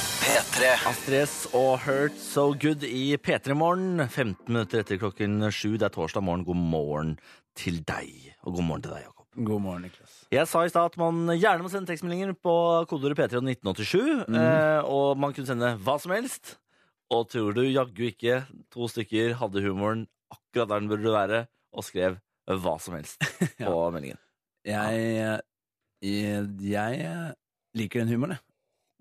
P3. Astrid S og Hurt So Good i P3 Morgen. 15 minutter etter klokken sju. Det er torsdag morgen. God morgen til deg. Og god morgen til deg, Jakob. God morgen, Niklas. Jeg sa i stad at man gjerne må sende tekstmeldinger på kodeordet P3 og 1987. Eh, og man kunne sende hva som helst. Og tror du jaggu ikke to stykker hadde humoren akkurat der den burde være, og skrev hva som helst på meldingen. Jeg, jeg, jeg eh, liker den humoren, jeg.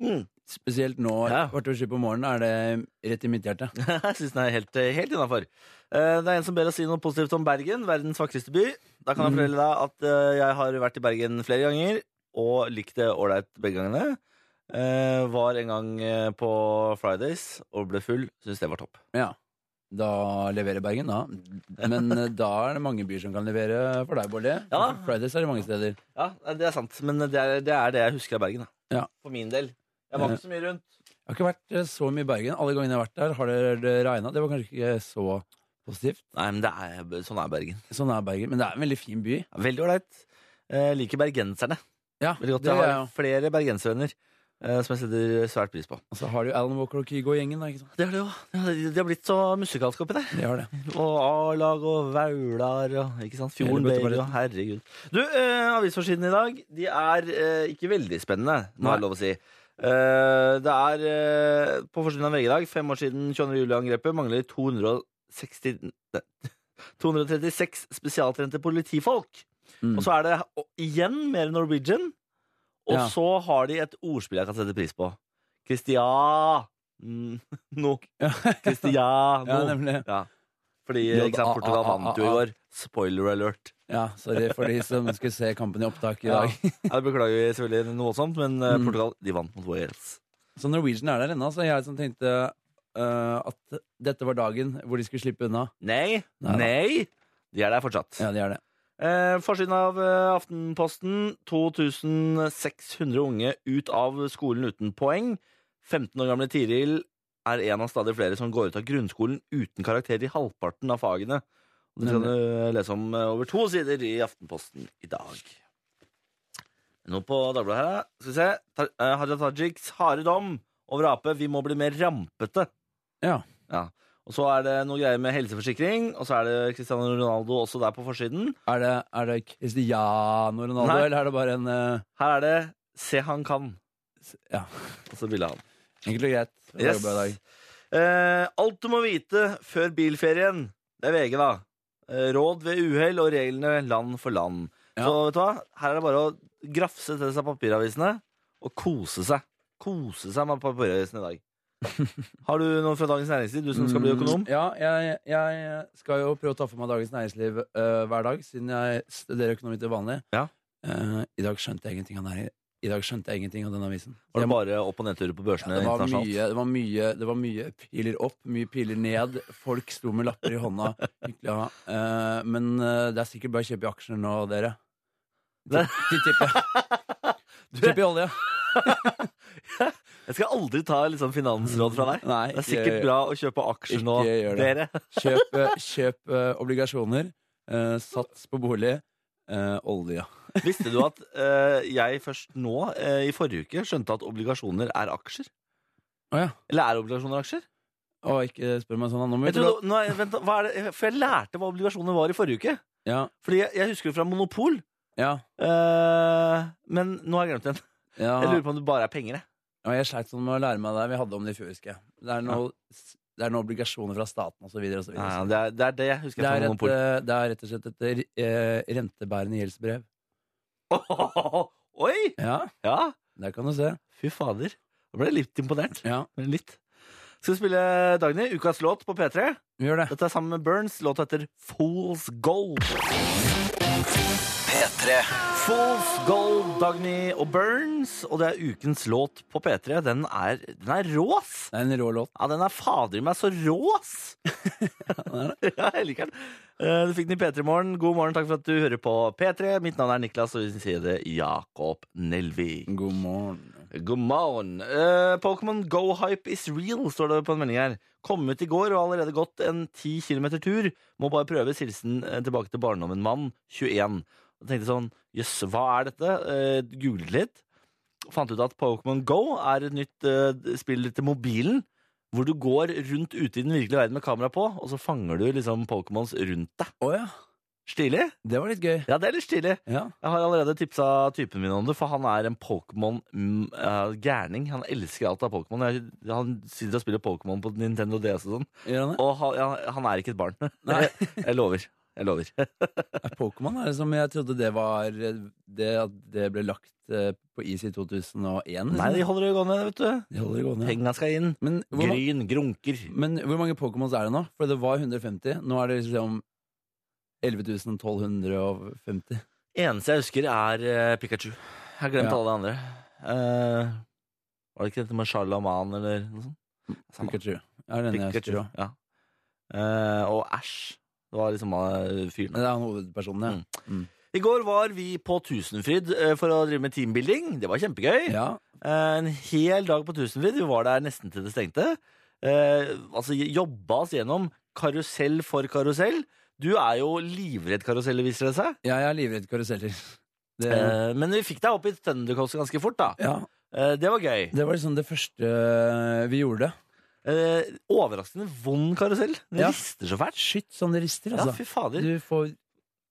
Mm. Spesielt nå, Ja. kvart over sju på morgenen, er det rett i mitt hjerte. Jeg syns den er helt, eh, helt innafor. Det er en som ber oss si noe positivt om Bergen, verdens vakreste by. Da kan jeg Mm. fortelle deg at eh, jeg har vært i Bergen flere ganger og likt det ålreit begge gangene. Eh, var en gang eh, på Fridays og ble full. Syns det var topp. Ja. Da leverer Bergen, da. Men eh, da er det mange byer som kan levere for deg, Bård. Ja. Fridays er det mange steder. Ja, eh, det er sant, men det er det, er det jeg husker av Bergen. Da. Ja. For min del. Jeg var ikke så mye rundt. Jeg har ikke vært eh, så mye i Bergen. Alle gangene jeg har vært der, har det regna. Det var kanskje ikke så positivt. Nei, men det er, sånn er Bergen. Sånn er Bergen. Men det er en veldig fin by. Veldig ålreit. Eh, liker bergenserne. Ja, Veldig godt. det Jeg er har jo. flere bergensvenner eh, som jeg setter svært pris på. Og så har du Alan Walker og Kygo-gjengen, da. ikke sant? Det har de òg. De har blitt så musikalske oppi der. De har det. Og A-lag og Vaular og ikke sant? Fjorden Hele Baby og bøtteballetten. herregud. Du, eh, avisforsiden i dag, de er eh, ikke veldig spennende, må Nei. jeg lov å si. Eh, det er eh, på forsiden av VG i dag, fem år siden 22. juli-angrepet, mangler 260 ne, 236 spesialtrente politifolk. Mm. Og så er det og, igjen mer Norwegian. Og Ja. så har de et ordspill jeg kan sette pris på. Christian mm, No. Ja. Christiano. Ja, nemlig. Ja. Fordi Ja, ikke sant, Portugal ah, ah, vant jo i ah, ah. går. Spoiler alert. Ja, sorry for de som skulle se kampen i opptak i dag. Ja. Ja, det beklager vi selvfølgelig noe voldsomt, men eh, Mm. Portugal de vant mot Wales. Så Norwegian er der ennå, så jeg som tenkte eh, at dette var dagen hvor de skulle slippe unna. Nei, Nei da. nei! De er der fortsatt. Ja, de er det. Eh, forsiden av eh, Aftenposten. 2600 unge ut av skolen uten poeng. 15 år gamle Tiril er en av stadig flere som går ut av grunnskolen uten karakter i halvparten av fagene. Og Det kan du lese om eh, over to sider i Aftenposten i dag. Nå på Dagbladet her, da. skal vi se. Ta- eh, Hadia Tajiks harde dom over Ap. Vi må bli mer rampete. Ja. Ja. Og så er det noe greier med helseforsikring, og så er det Cristiano Ronaldo også der på forsiden. Er det, er det Cristiano Ronaldo, Nei. eller er det bare en eh, Her er det 'Se han kan', Ja, og så bildet av han. enkelt og greit. Det var bra i dag. Eh, alt du må vite før bilferien. Det er VG, da. Eh, Råd ved uhell og reglene land for land. Ja. Så vet du hva? her er det bare å grafse til seg papiravisene og kose seg. Kose seg med papiravisene i dag. Har du noe fra Dagens Næringsliv, du som skal bli økonom? Mm, Ja, jeg, jeg skal jo prøve å ta for meg Dagens Næringsliv eh, hver dag, siden jeg studerer økonomi til vanlig. Ja. Eh, I dag skjønte jeg ingenting av den, i dag skjønte jeg ingenting av den avisen. Var det Jeg- bare opp- og nedturer på børsene Ja, det, var internasjonalt? mye, det, var mye, det var mye piler opp, mye piler ned. Folk sto med lapper i hånda. Hyggelig å ha. Eh, men eh, det er sikkert bare å kjøpe i aksjer nå, dere. De Det- tipper jeg. Tipper i olje. Jeg skal aldri ta liksom, finansråd fra deg. Nei, Det er sikkert ikke- bra å kjøpe aksjer nå, Ikke gjør det. dere. Kjøp, eh, kjøp eh, obligasjoner. eh, sats på bolig. eh, olje. Visste du at eh, jeg først nå, eh, i forrige uke, skjønte at obligasjoner er aksjer? Å ja. Eller er obligasjoner aksjer? Å, ikke spør meg sånn. da. Nå må vi Jeg trodde, nå, er- vent, da, hva er det? For jeg lærte hva obligasjoner var i forrige uke. Ja, Fordi jeg, jeg husker det fra Monopol, ja, eh, men nå har jeg glemt den. ja. Jeg lurer på om det bare er penger. jeg. Ja, jeg sleit sånn med å lære meg det. Vi hadde om det i fjor, husker jeg. Det er noe- det er noen obligasjoner fra staten osv. osv. Ja, det, er, det er det jeg husker Det fra er, et, Monopol. eh, det er rett og slett et eh, rentebærende gjeldsbrev. eh, Oi! Ja, Ja, der kan du se. fy fader. Da ble jeg litt imponert. Ja, Men Litt. Skal vi spille Dagny, ukas låt på P3? vi gjør det. Dette er sammen med Burns. Låta heter Fool's Gold. P3. Fools Gold, Dagny og Burns. Og det er ukens låt på P3. Den er, den er rå, ass! Det er en rå låt. Ja, den er fader i meg så rå, ass! ja, jeg liker den. Eh, Du fikk den i P3 Morgen. God morgen, takk for at du hører på P3. Mitt navn er Niklas, og vi sier det Jakob Nelvik. God morgen. God morgen. Eh, Pokémon Go-hype is real, står det på en melding her. Kom ut i går og har allerede gått en 10 km tur. Må bare prøve hilsen eh, tilbake til barndommen mann, 21. Og tenkte sånn, jøss, hva er dette? Eh, googlet litt. fant ut at Pokémon Go er et nytt eh, spill til mobilen. Hvor du går rundt ute i den virkelige verden med kamera på, og så fanger du liksom Pokémons rundt deg. Å ja. Stilig? Det var litt gøy. Ja, det er litt stilig. Ja. Jeg har allerede tipsa typen min om det, for han er en Pokémon-gærning. han elsker alt av Pokémon. Jeg- Han sitter og spiller Pokémon på Nintendo DS og sånn. Gjør han det? Og han, ja, han er ikke et barn. Nei. Jeg lover. Jeg lover. Er Pokémon er det som jeg trodde det var eh, det at det ble lagt eh, på is i 2001? liksom. Nei, de holder det gående, vet du. de holder det gående. ja. Penga skal inn. Men hvor, ma- Gryn, grunker. men hvor mange Pokémons er det nå? For det var 150. Nå er det liksom 11.1250. Eneste jeg husker, er eh, Pikachu. Jeg har glemt Ja. alle de andre. Eh, var det ikke dette med Charlaman eller noe sånt? Samme. Pikachu. Ja, den jeg Pikachu, husker også. ja. Eh, og Ash. Det var liksom uh, fyren. Men Det er han hovedpersonen, ja. I går var vi på Tusenfryd eh, for å drive med teambuilding. Det var kjempegøy. ja. Eh, En hel dag på Tusenfryd. Vi var der nesten til det stengte. Eh, altså jobba oss gjennom karusell for karusell. Du er jo livredd karuseller, viser det seg. Ja, jeg er livredd karuseller. Det, Eh, men vi fikk deg opp i Thundercoast ganske fort, da. ja, Eh, det var gøy. det var liksom det første vi gjorde. Eh, overraskende vond karusell. Den Ja. rister så fælt. Shit, sånn det rister, Ja, altså. fy fader. du får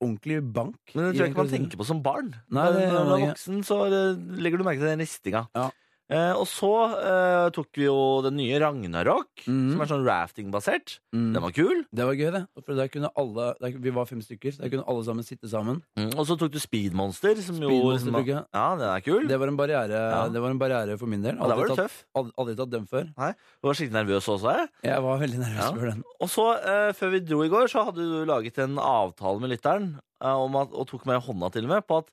ordentlig bank. Men det tror i jeg ikke man den tenker på som barn. Nei, det Men gjør Når man man er ikke. voksen, så eh, legger du merke til den ristinga. Ja. Eh, og så eh, tok vi jo den nye Ragnarok, Mhm. som er sånn rafting-basert. Mm. Den var kul. Det var gøy, det. For der kunne alle, der, vi var fem stykker. Der kunne alle sammen sitte sammen. Og så tok du Speedmonster, som jo Mm. Speedmonster liksom, tok jeg. Ja, den er kul. Det var en barriere, Ja. det var en barriere for min del. og der var du tatt, tøff. aldri, aldri tatt den før. Du var skikkelig nervøs også. Jeg. Jeg var veldig nervøs Ja. for den. Og så, eh, før vi dro i går, så hadde du laget en avtale med lytteren, eh, om at, og tok meg i hånda til og med, på at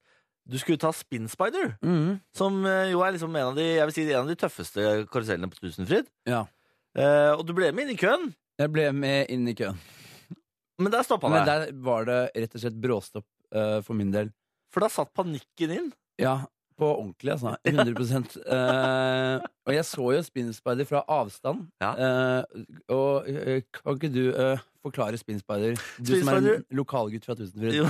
du skulle ta Spin Spider, Mm. som eh, jo er liksom en av de, jeg vil si, en av de tøffeste karusellene på Tusenfryd. Ja. Eh, og du ble med inn i køen, Jeg ble med inn i køen. men der stoppa Men det. der var det rett og slett bråstopp eh, for min del. For da satt panikken inn. Ja, på ordentlig, altså. 100 Eh, Og jeg så jo Spin Spider fra avstand. Ja. Eh, og eh, kan ikke du eh, forklare Spin Spider, du Spin som er Spider- en lokalgutt fra Tusenfryd? Jo.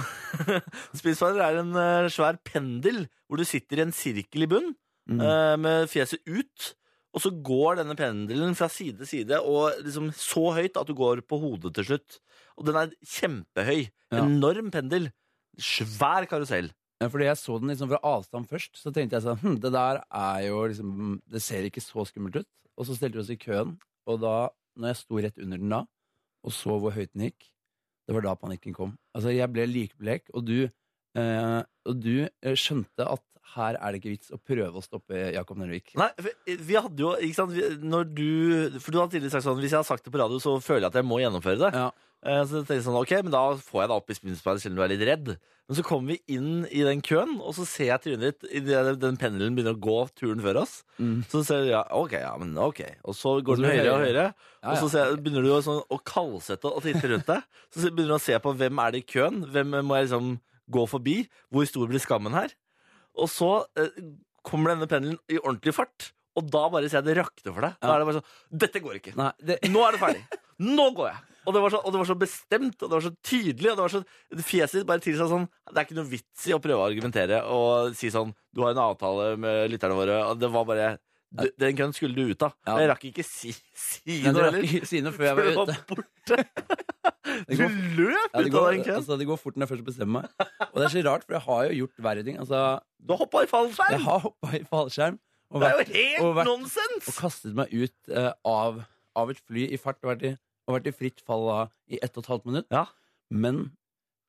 Spinspider er en eh, svær pendel hvor du sitter i en sirkel i bunn Mm. eh, med fjeset ut. Og så går denne pendelen fra side til side og liksom så høyt at du går på hodet til slutt. Og den er kjempehøy. Ja. Enorm pendel. Svær karusell. Ja, fordi jeg så den liksom fra avstand først, så tenkte jeg sånn hm, Det der er jo liksom Det ser ikke så skummelt ut. Og så stelte vi oss i køen, og da, når jeg sto rett under den da, og så hvor høyt den gikk, det var da panikken kom. Altså, jeg ble likblek, og du eh, Og du eh, skjønte at her er det ikke vits å prøve å stoppe Jakob Nervik. Nei, for vi hadde jo ikke sant, vi- Når du For du har tidligere sagt sånn Hvis jeg har sagt det på radio, så føler jeg at jeg må gjennomføre det. Ja. Eh, Så jeg tenkte jeg sånn, ok, men da får jeg deg opp i spinspillet selv om du er litt redd. Men så kommer vi inn i den køen, og så ser jeg trynet ditt idet den pendelen begynner å gå turen før oss. Mm. Så ser jeg, ja, ok, ja, men ok. Og så Og så går den blir det høyere og høyere, Ja, og ja. så ser jeg, begynner du å sånn, å kaldsette og titte rundt deg. Så se- begynner du å se på hvem er det i køen, hvem må jeg liksom gå forbi, hvor stor blir skammen her? Og så eh, kommer denne pendelen i ordentlig fart, og da bare ser jeg det rakte for deg. Da Ja. er det bare sånn, dette går ikke. Nei, det, Nå er det ferdig. Nå går jeg. Og det var så, og det var så bestemt, og det var så tydelig. Og det var så Fjeset ditt bare tilsa sånn Det er ikke noe vits i å prøve å argumentere og si sånn Du har en avtale med lytterne våre, og det var bare d- Den køen skulle du ut av. Ja. Og jeg rakk ikke si, si men noe det rakk heller. ikke si noe før jeg For var det ute. var borte. Det Du går- løp ut Ja, det, av går, den køen. altså, det går fort når jeg først bestemmer meg. Og det er så rart, for jeg har jo gjort verre ting. Altså, Du hoppa i jeg fallskjerm! har hoppa i fallskjerm. og Det vært- er jo helt og vært- og nonsens! kastet meg ut eh, av, av et fly i fart og vært i, og vært i fritt fall da, i ett og et halvt minutt. Ja. Men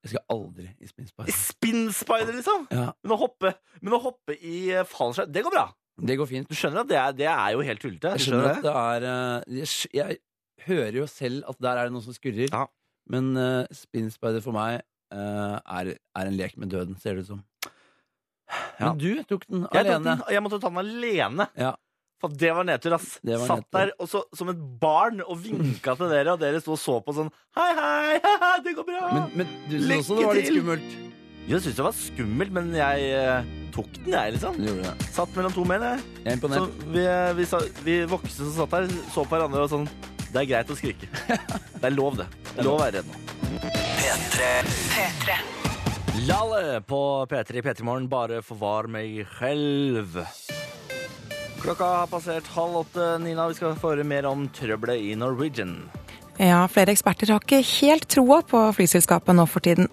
jeg skal aldri i spinnspark. Spinspider, liksom. Ja, Men å hoppe, men å hoppe i eh, fallskjerm, det går bra. det går fint. Du skjønner at det er, det er jo helt tullete? Du Jeg skjønner skjønner at det er eh, jeg, skj- jeg hører jo selv at der er det noe som skurrer. Ja. Men uh, spinnspeider for meg eh, er, er en lek med døden, ser det ut som. Ja. Men du tok den Jeg, tok alene. den, jeg måtte ta den alene. Ja. For det var nedtur, ass. Det var Satt nedtur. der og så, som et barn og vinka til dere, og dere sto og så på sånn Hei, hei, haha, det går bra. Men, men du syntes også Lykke det var litt til! skummelt. jeg syntes det var skummelt, men jeg eh, tok den, jeg, liksom. Du gjorde det. Satt mellom to menn, jeg. Så Jeg er imponert. vi, eh, vi, sa, vi voksne som satt der, så på hverandre og sånn Det er greit å skrike. Det er lov, det. Det er lov å være redd nå. Lalle på P3 i P3 Morgen, bare forvar meg selv. Klokka har passert halv åtte. Nina, vi skal få høre mer om trøbbelet i Norwegian. Ja, flere eksperter har ikke helt troa på flyselskapet nå for tiden.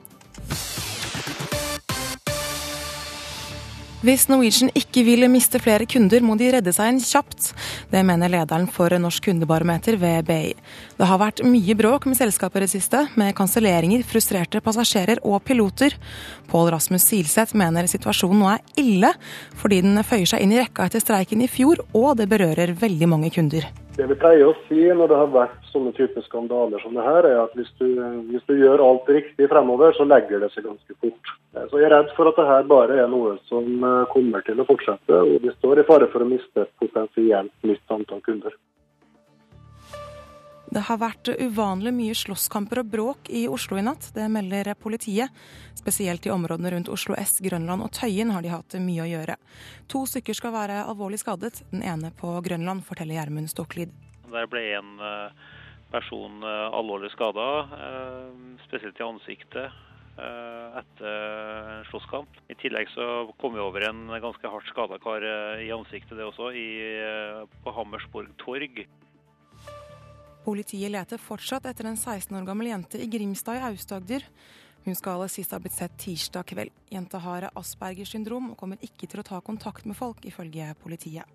Hvis Norwegian ikke vil miste flere kunder, må de redde seg inn kjapt. Det mener lederen for Norsk kundebarometer ved BI. Det har vært mye bråk med selskapet i det siste, med kanselleringer, frustrerte passasjerer og piloter. Pål Rasmus Silseth mener situasjonen nå er ille, fordi den føyer seg inn i rekka etter streiken i fjor, og det berører veldig mange kunder. Det vi pleier å si når det har vært sånne typer skandaler som det her, er at hvis du, hvis du gjør alt riktig fremover, så legger det seg ganske fort. Eh, Så jeg er redd for at det her bare er noe som eh, kommer til å fortsette, og vi står i fare for å miste et potensielt nytt antall kunder. Det har vært uvanlig mye slåsskamper og bråk i Oslo i natt. Det melder politiet. Spesielt i områdene rundt Oslo S, Grønland og Tøyen har de hatt mye å gjøre. To stykker skal være alvorlig skadet. Den ene på Grønland, forteller Gjermund Stokklid. Der ble en eh, person eh, alvorlig skada, spesielt i ansiktet, eh, etter en slåsskamp. I tillegg så kom vi over en ganske hardt skada kar eh, i ansiktet, det også, i, eh, på Hammersborg torg. Politiet leter fortsatt etter en 16 år gammel jente i Grimstad i Aust-Agder. Hun skal sist ha blitt sett tirsdag kveld. Jenta har Aspergers syndrom og kommer ikke til å ta kontakt med folk, ifølge politiet.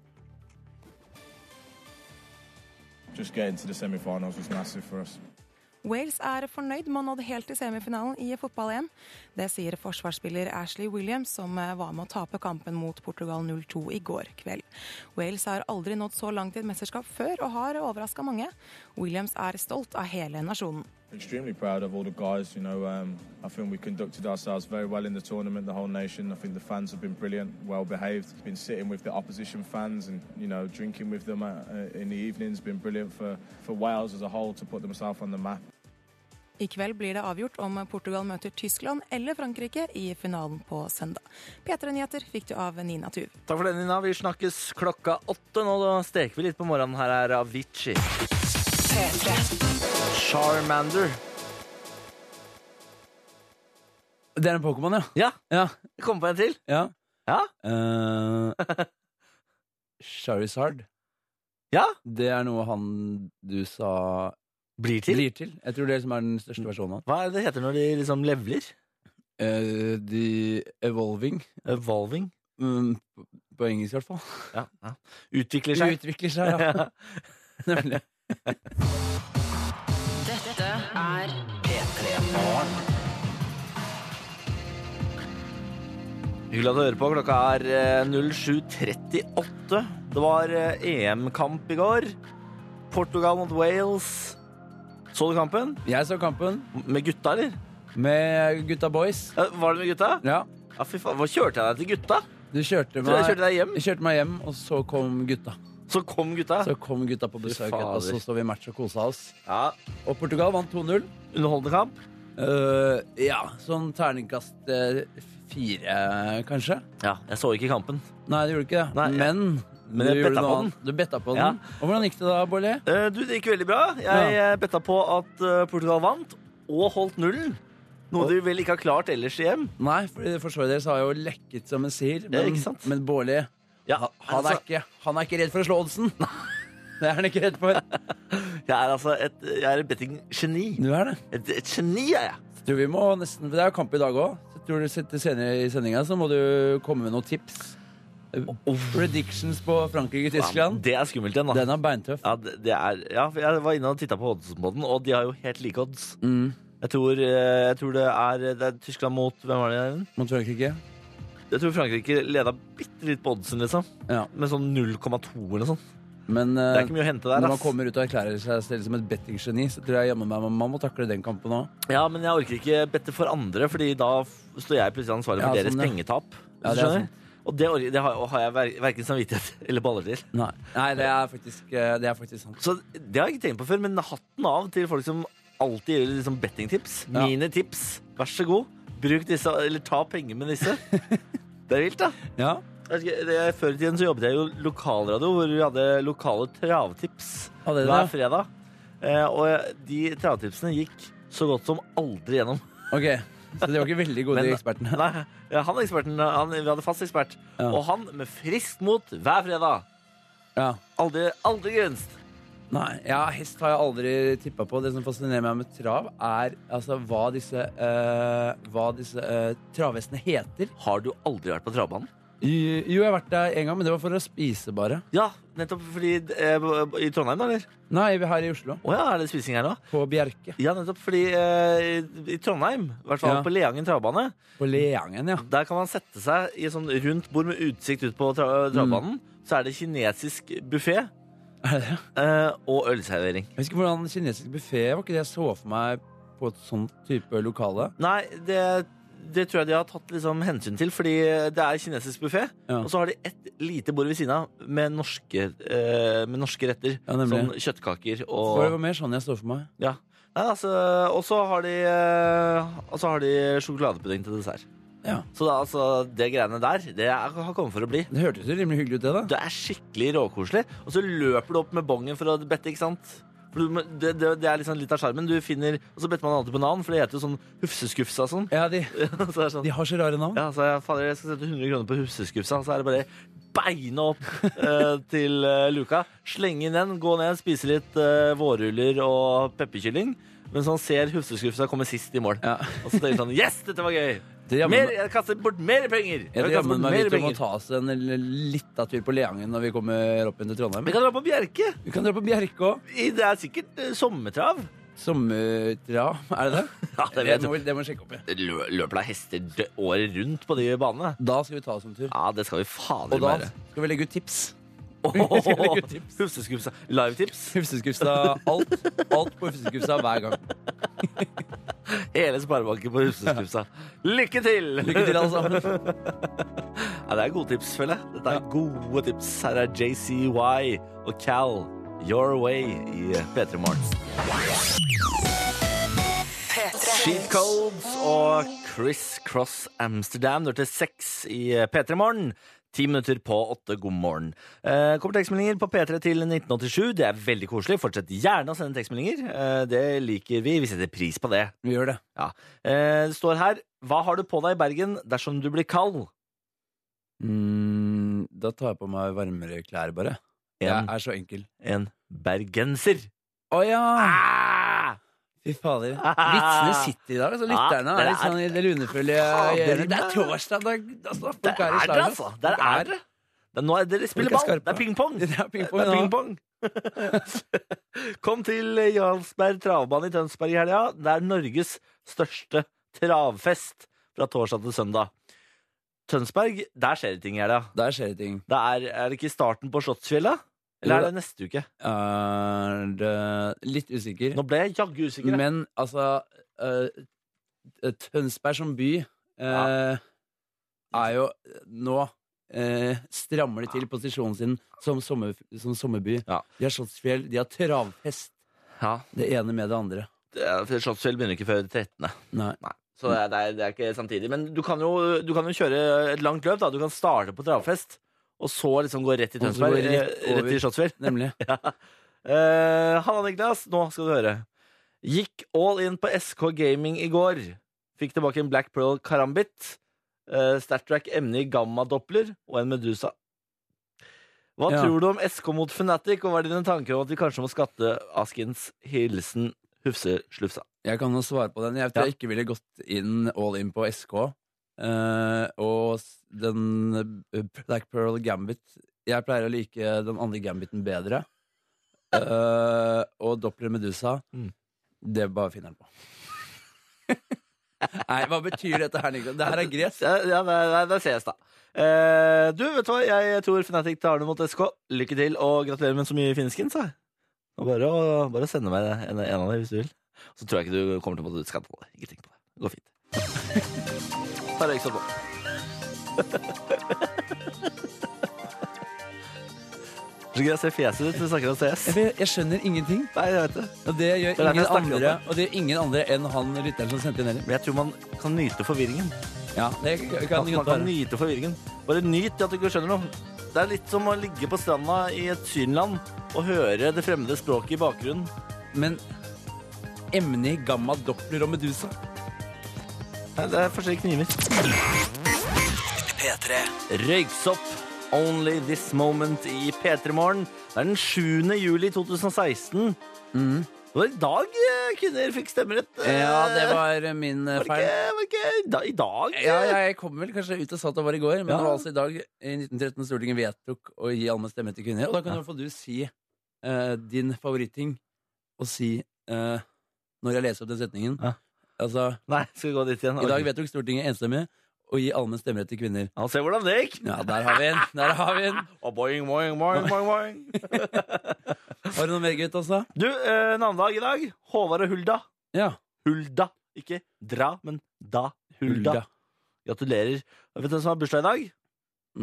Just getting to the semi-finals was massive for us. Wales er fornøyd med å ha nådd helt til semifinalen i fotball-EM. Det sier forsvarsspiller Ashley Williams, som eh, var med å tape kampen mot Portugal 0-2 i går kveld. Wales har aldri nådd så langt i et mesterskap før, og har overraska mange. Williams er stolt av hele nasjonen. Extremely proud of all the guys. You know, um, I think we conducted ourselves very well in the tournament. The whole nation. I think the fans have been brilliant, well behaved. Been sitting with the opposition fans and you know drinking with them uh, uh, in the evenings. Been brilliant for for Wales as a whole to put themselves on the map. I kveld blir det avgjort om Portugal møter Tyskland eller Frankrike i finalen på søndag. P3-nyheter fikk du av Nina Tuv. Takk for det, Nina. Vi snakkes klokka åtte. Nå da steker vi litt på morgenen. Her er Avicii. Charmander. Det er en Pokémon, ja. Ja, Ja. jeg kom på en til. ja. Ja? Eh, Charizard. Ja? Det er noe han du sa Blir til. blir til. Jeg tror det liksom er den største versjonen av han. Hva er det det heter når de liksom levler? Eh, the Evolving. Eh, Evolving. Mm, på- på engelsk, i hvert fall. Ja. ja. Utvikler Det seg. utvikler seg, ja. Ja. Nemlig. Dette er Hyggelig at du hører på. Klokka er eh, 07.38. Det var eh, EM-kamp i går. Portugal mot Wales. Så du kampen? Jeg så kampen Med gutta, eller? med gutta boys. Ja, Var det med gutta? Ja. Ja, fy faen. Hva kjørte jeg deg til gutta? Du kjørte Tror jeg meg, kjørte deg hjem. jeg kjørte meg hjem, og så kom gutta. Så kom gutta. Så kom gutta på besøk, fader. og så så vi match og kosa oss. Ja, Og Portugal vant 2-0. Underholdende kamp. Eh, ja, sånn terningkast eh, fire, kanskje. Ja, Jeg så ikke kampen. Nei, det gjorde ikke det. Nei, ja. men Men du jeg gjorde betta noe på den. annet. Du betta på den. Ja. Og hvordan gikk det da, Bolli? Eh, Du, Det gikk veldig bra. Jeg eh, betta på at eh, Portugal vant, og holdt nullen. Noe de vel ikke har klart ellers i EM. Nei, for forsvaret deres har jo lekket som en sier. Men, ikke sant? men Bårli, Ja, han, er altså, ikke- han er ikke redd for å slå Oddsen. Det er han ikke redd for. jeg er altså et, jeg er et betting-geni. Du er det. Et, et geni er jeg. Så tror vi må nesten, for Det er jo kamp i dag òg. Tror du til senere i sendinga så må du komme med noen tips. Predictions på Ja, Frankrike-Tyskland. det er skummelt igjen, da. Den er beintøff. Ja, det det er, ja, for jeg var inne og titta på oddsen på den, og de har jo helt like odds. Mm. Jeg tror, eh, jeg tror det, er, det er Tyskland mot Hvem var det igjen? Mot Frankrike. Jeg tror Frankrike leda bitte litt på oddsen, liksom. Ja. Med sånn 0,2 eller sånn. Men Det er eh, ikke mye å hente der. når man Ass. kommer ut og erklærer seg selv som et bettinggeni, så tror jeg jammen meg man må takle den kampen òg. Ja, men jeg orker ikke bette for andre, Fordi da f- står jeg plutselig ansvarlig for Ja, deres sånn, ja. pengetap. Hvis du Ja, det er skjønner? Og det, orker- det har, og har jeg ver verken samvittighet eller baller til. Nei. Nei, det er faktisk, eh, det er faktisk sant. Så det har jeg ikke tenkt på før, men hatten av til folk som alltid gir liksom bettingtips. Ja. Mine tips. Vær så god. Bruk disse, eller ta penger med disse. Det er vilt, da. Ja. Jeg husker, det- Før i tiden så jobbet jeg jo lokalradio, hvor vi hadde lokale travtips Hadde dere hver det? fredag. Eh, og jeg- de travtipsene gikk så godt som aldri gjennom. Ok, så de var ikke veldig gode, Men- de ekspertene. Nei, ja, han eksperten, han, vi hadde fast ekspert, Ja. og han med friskt mot hver fredag Ja. Aldri, aldri grenst. Nei, ja, hest har jeg aldri tippa på. Det som fascinerer meg med trav, er altså, hva disse, eh, hva disse eh, travhestene heter. Har du aldri vært på travbanen? Jo, jeg har vært der en gang, men det var for å spise, bare. Ja, nettopp fordi eh, I Trondheim, da, eller? Nei, vi er her i Oslo. Å ja, er det spising her nå? På Bjerke. Ja, nettopp fordi eh, i Trondheim, i hvert fall Ja. på Leangen travbane, På Leangen, ja. der kan man sette seg i et sånn rundt bord med utsikt ut på tra Mm. travbanen. Så er det kinesisk buffé Er det det? eh, og ølservering. Jeg husker hvordan kinesisk buffé var ikke det jeg så for meg på et sånt type lokale. Nei, det, det tror jeg de har tatt liksom hensyn til, fordi det er kinesisk buffé. Ja. Og så har de et lite bord ved siden av med norske, eh, med norske retter. Ja, nemlig. sånn kjøttkaker og For det var mer sånn jeg så for meg. Ja. Nei, altså, og så har de eh, Og så har de sjokoladepudding til dessert. Ja. Så det, er altså, det greiene der, det er, har kommet for å bli. Det hørtes jo rimelig hyggelig ut, det, da. Det er skikkelig råkoselig. Og så løper du opp med bongen for å bette, ikke sant? For du, må- det, det, det er liksom litt av sjarmen. Du finner Og så better man alltid på navn, for det heter jo sånn Hufseskufsa og sånn. Ja, de, så det er sånn. de har så rare navn. Ja, så jeg, fader, jeg skal sette 100 kroner på Hufseskufsa, så er det bare beina opp eh, til eh, luka. Slenge inn den, gå ned, spise litt eh, vårruller og pepperkylling. Mens han ser Hufseskufsa komme sist i mål. Ja. Og så tenker han Yes, dette var gøy! Det er jammen- Mer, jeg kaster bort mer penger! Jeg tror kaster jammen bort meg mer vi til å penger. ta oss en lita tur på Leangen når vi kommer opp igjen til Trondheim. Vi kan dra på Bjerke. Vi kan dra på Bjerke òg. I- Det er sikkert eh, sommertrav. Sommertrav, er det det? Ja, det vet må, du. vi- det må vi sjekke opp i. Lø- Løper deg hester dø- året rundt på de banene? Da skal vi ta oss en tur. Ja, det skal vi Og fader da være. skal vi legge ut tips. Åh, skal legge ut tips. Hufseskufsa. Livetips. Hufseskufsa. Alt, alt på Hufseskufsa hver gang. Hele sparebanken på Hufseskufsa. Lykke til! Lykke til, altså. alle sammen. Ja, det er gode tips, føler jeg. Dette er gode tips. Her er JCY og Cal Your Way i P3 Morgen. Sheet Codes og Chris Cross Amsterdam. Du hørte seks i P3 Morgen. Ti minutter på åtte, god morgen. Eh, kommer tekstmeldinger på P3 til 1987. Det er veldig koselig. Fortsett gjerne å sende tekstmeldinger. Eh, det liker vi. Vi setter pris på det. Vi gjør det. Ja. Eh, det står her Hva har du på deg i Bergen dersom du blir kald? Mm, da tar jeg på meg varmere klær, bare. Jeg En, er så enkel. en bergenser. Å ja! Ah! Fy fader. Vitsene sitter i dag. Altså, Ja, lytterne er dere litt sånn i det lunefulle. Ja, dere- Det er torsdag. da- Altså, folk Der er er i dere, slaget. altså! Der Folk er dere. Det er, nå er dere spiller Folk er ball. skarpe. Det er ping-pong. Det er pingpong. Det er ja. ping-pong. Kom til Jarlsberg travbane i Tønsberg i helga. Det er Norges største travfest fra torsdag til søndag. Tønsberg, der skjer det ting i helga. Der skjer det ting. Det er, er det ikke starten på Slottsfjellet? Eller er det neste uke? Er det Litt usikker. Nå ble jeg jaggu usikker. jeg. Men altså eh, Tønsberg som by eh, er jo nå eh, strammer de til posisjonen sin som, sommer, som sommerby. Ja. De har Slottsfjell, de har travfest. Ja. Det ene med det andre. Det- for Slottsfjell begynner ikke før 13. Nei. Nei. Så Mm. det er, det, er, det er ikke samtidig. Men du kan, jo, du kan jo kjøre et langt løp. da Du kan starte på travfest, og så liksom gå rett i Og så Tønsberg. gå rett eh, Rett over. i Slottsfjell. Nemlig. Eh, Hanna Niklas, nå skal du høre. Gikk all in på SK Gaming i går. Fikk tilbake en Black Pearl Karambit. Uh, Startrack emne i gamma-doppler og en Medusa. Hva Ja. tror du om SK mot Fnatic, og hva er dine tanker om at vi kanskje må skatte Askins hilsen Hufseslufsa? Jeg kan jo svare på den. Jeg tror jeg ikke ville gått inn all in på SK. Eh, og s- den eh, Black Pearl Gambit Jeg pleier å like den andre Gambiten bedre. Eh, og Doppler Medusa, Mm. det bare finner han på. Nei, hva betyr dette her, Niklas? Det her er gresk. Ja, ja der, der, der ses, da. Eh, du, vet du hva? Jeg tror Fnatic tar det mot SK. Lykke til, og gratulerer med så mye finsken, sa jeg. Og bare, å- bare å sende meg en, en av dem hvis du vil. Så tror jeg ikke du kommer til å måtte utskatte det. Ikke tenk på det. Det går fint. Bare røyk sånn på. Så gøy å se fjeset ditt når vi snakker om CS. Jeg, jeg skjønner ingenting. Nei, jeg vet det. Og det Det gjør er derfor jeg ingen snakker om andre Og det gjør ingen andre enn han lytteren som sendte inn heller. Men jeg tror man kan nyte forvirringen. Ja, det kan, At man kan godt være. nyte forvirringen. Bare nyt at du ikke skjønner noe. Det er litt som å ligge på stranda i et synland og høre det fremmede språket i bakgrunnen. Men emne i gamma Doppler og Medusa Nei, det er forskjellige kniver. P3. Røyksopp Only This Moment i P3 Morgen. Det er den 7. juli 2016. Det var i dag eh, kvinner fikk stemmerett. eh, Mm. Ja, det var min eh, var det feil. ikke, var det ikke i da- i dag? Ja, jeg kom vel kanskje ut og sa at det var i går, men Ja. det var altså i dag i 1913 Stortinget vedtok å gi allmenn stemme til kvinner. Og da kan i hvert fall du si eh, din favoritting, og si eh, når jeg leser opp den setningen Ja. Altså, Nei, skal vi gå dit igjen? i dag Ok. vedtok Stortinget enstemmig å gi allmenn stemmerett til kvinner. Ja, se hvordan det gikk. Ja, der har vi den! Der har vi den. Og boing, boing, boing, boing, boing. Har du noe mer, gutt, altså? Du, eh, navnedag i dag. Håvard og Hulda. Ja. Hulda. Ikke dra, men da. Hulda. Gratulerer. Vet du hvem som har bursdag i dag?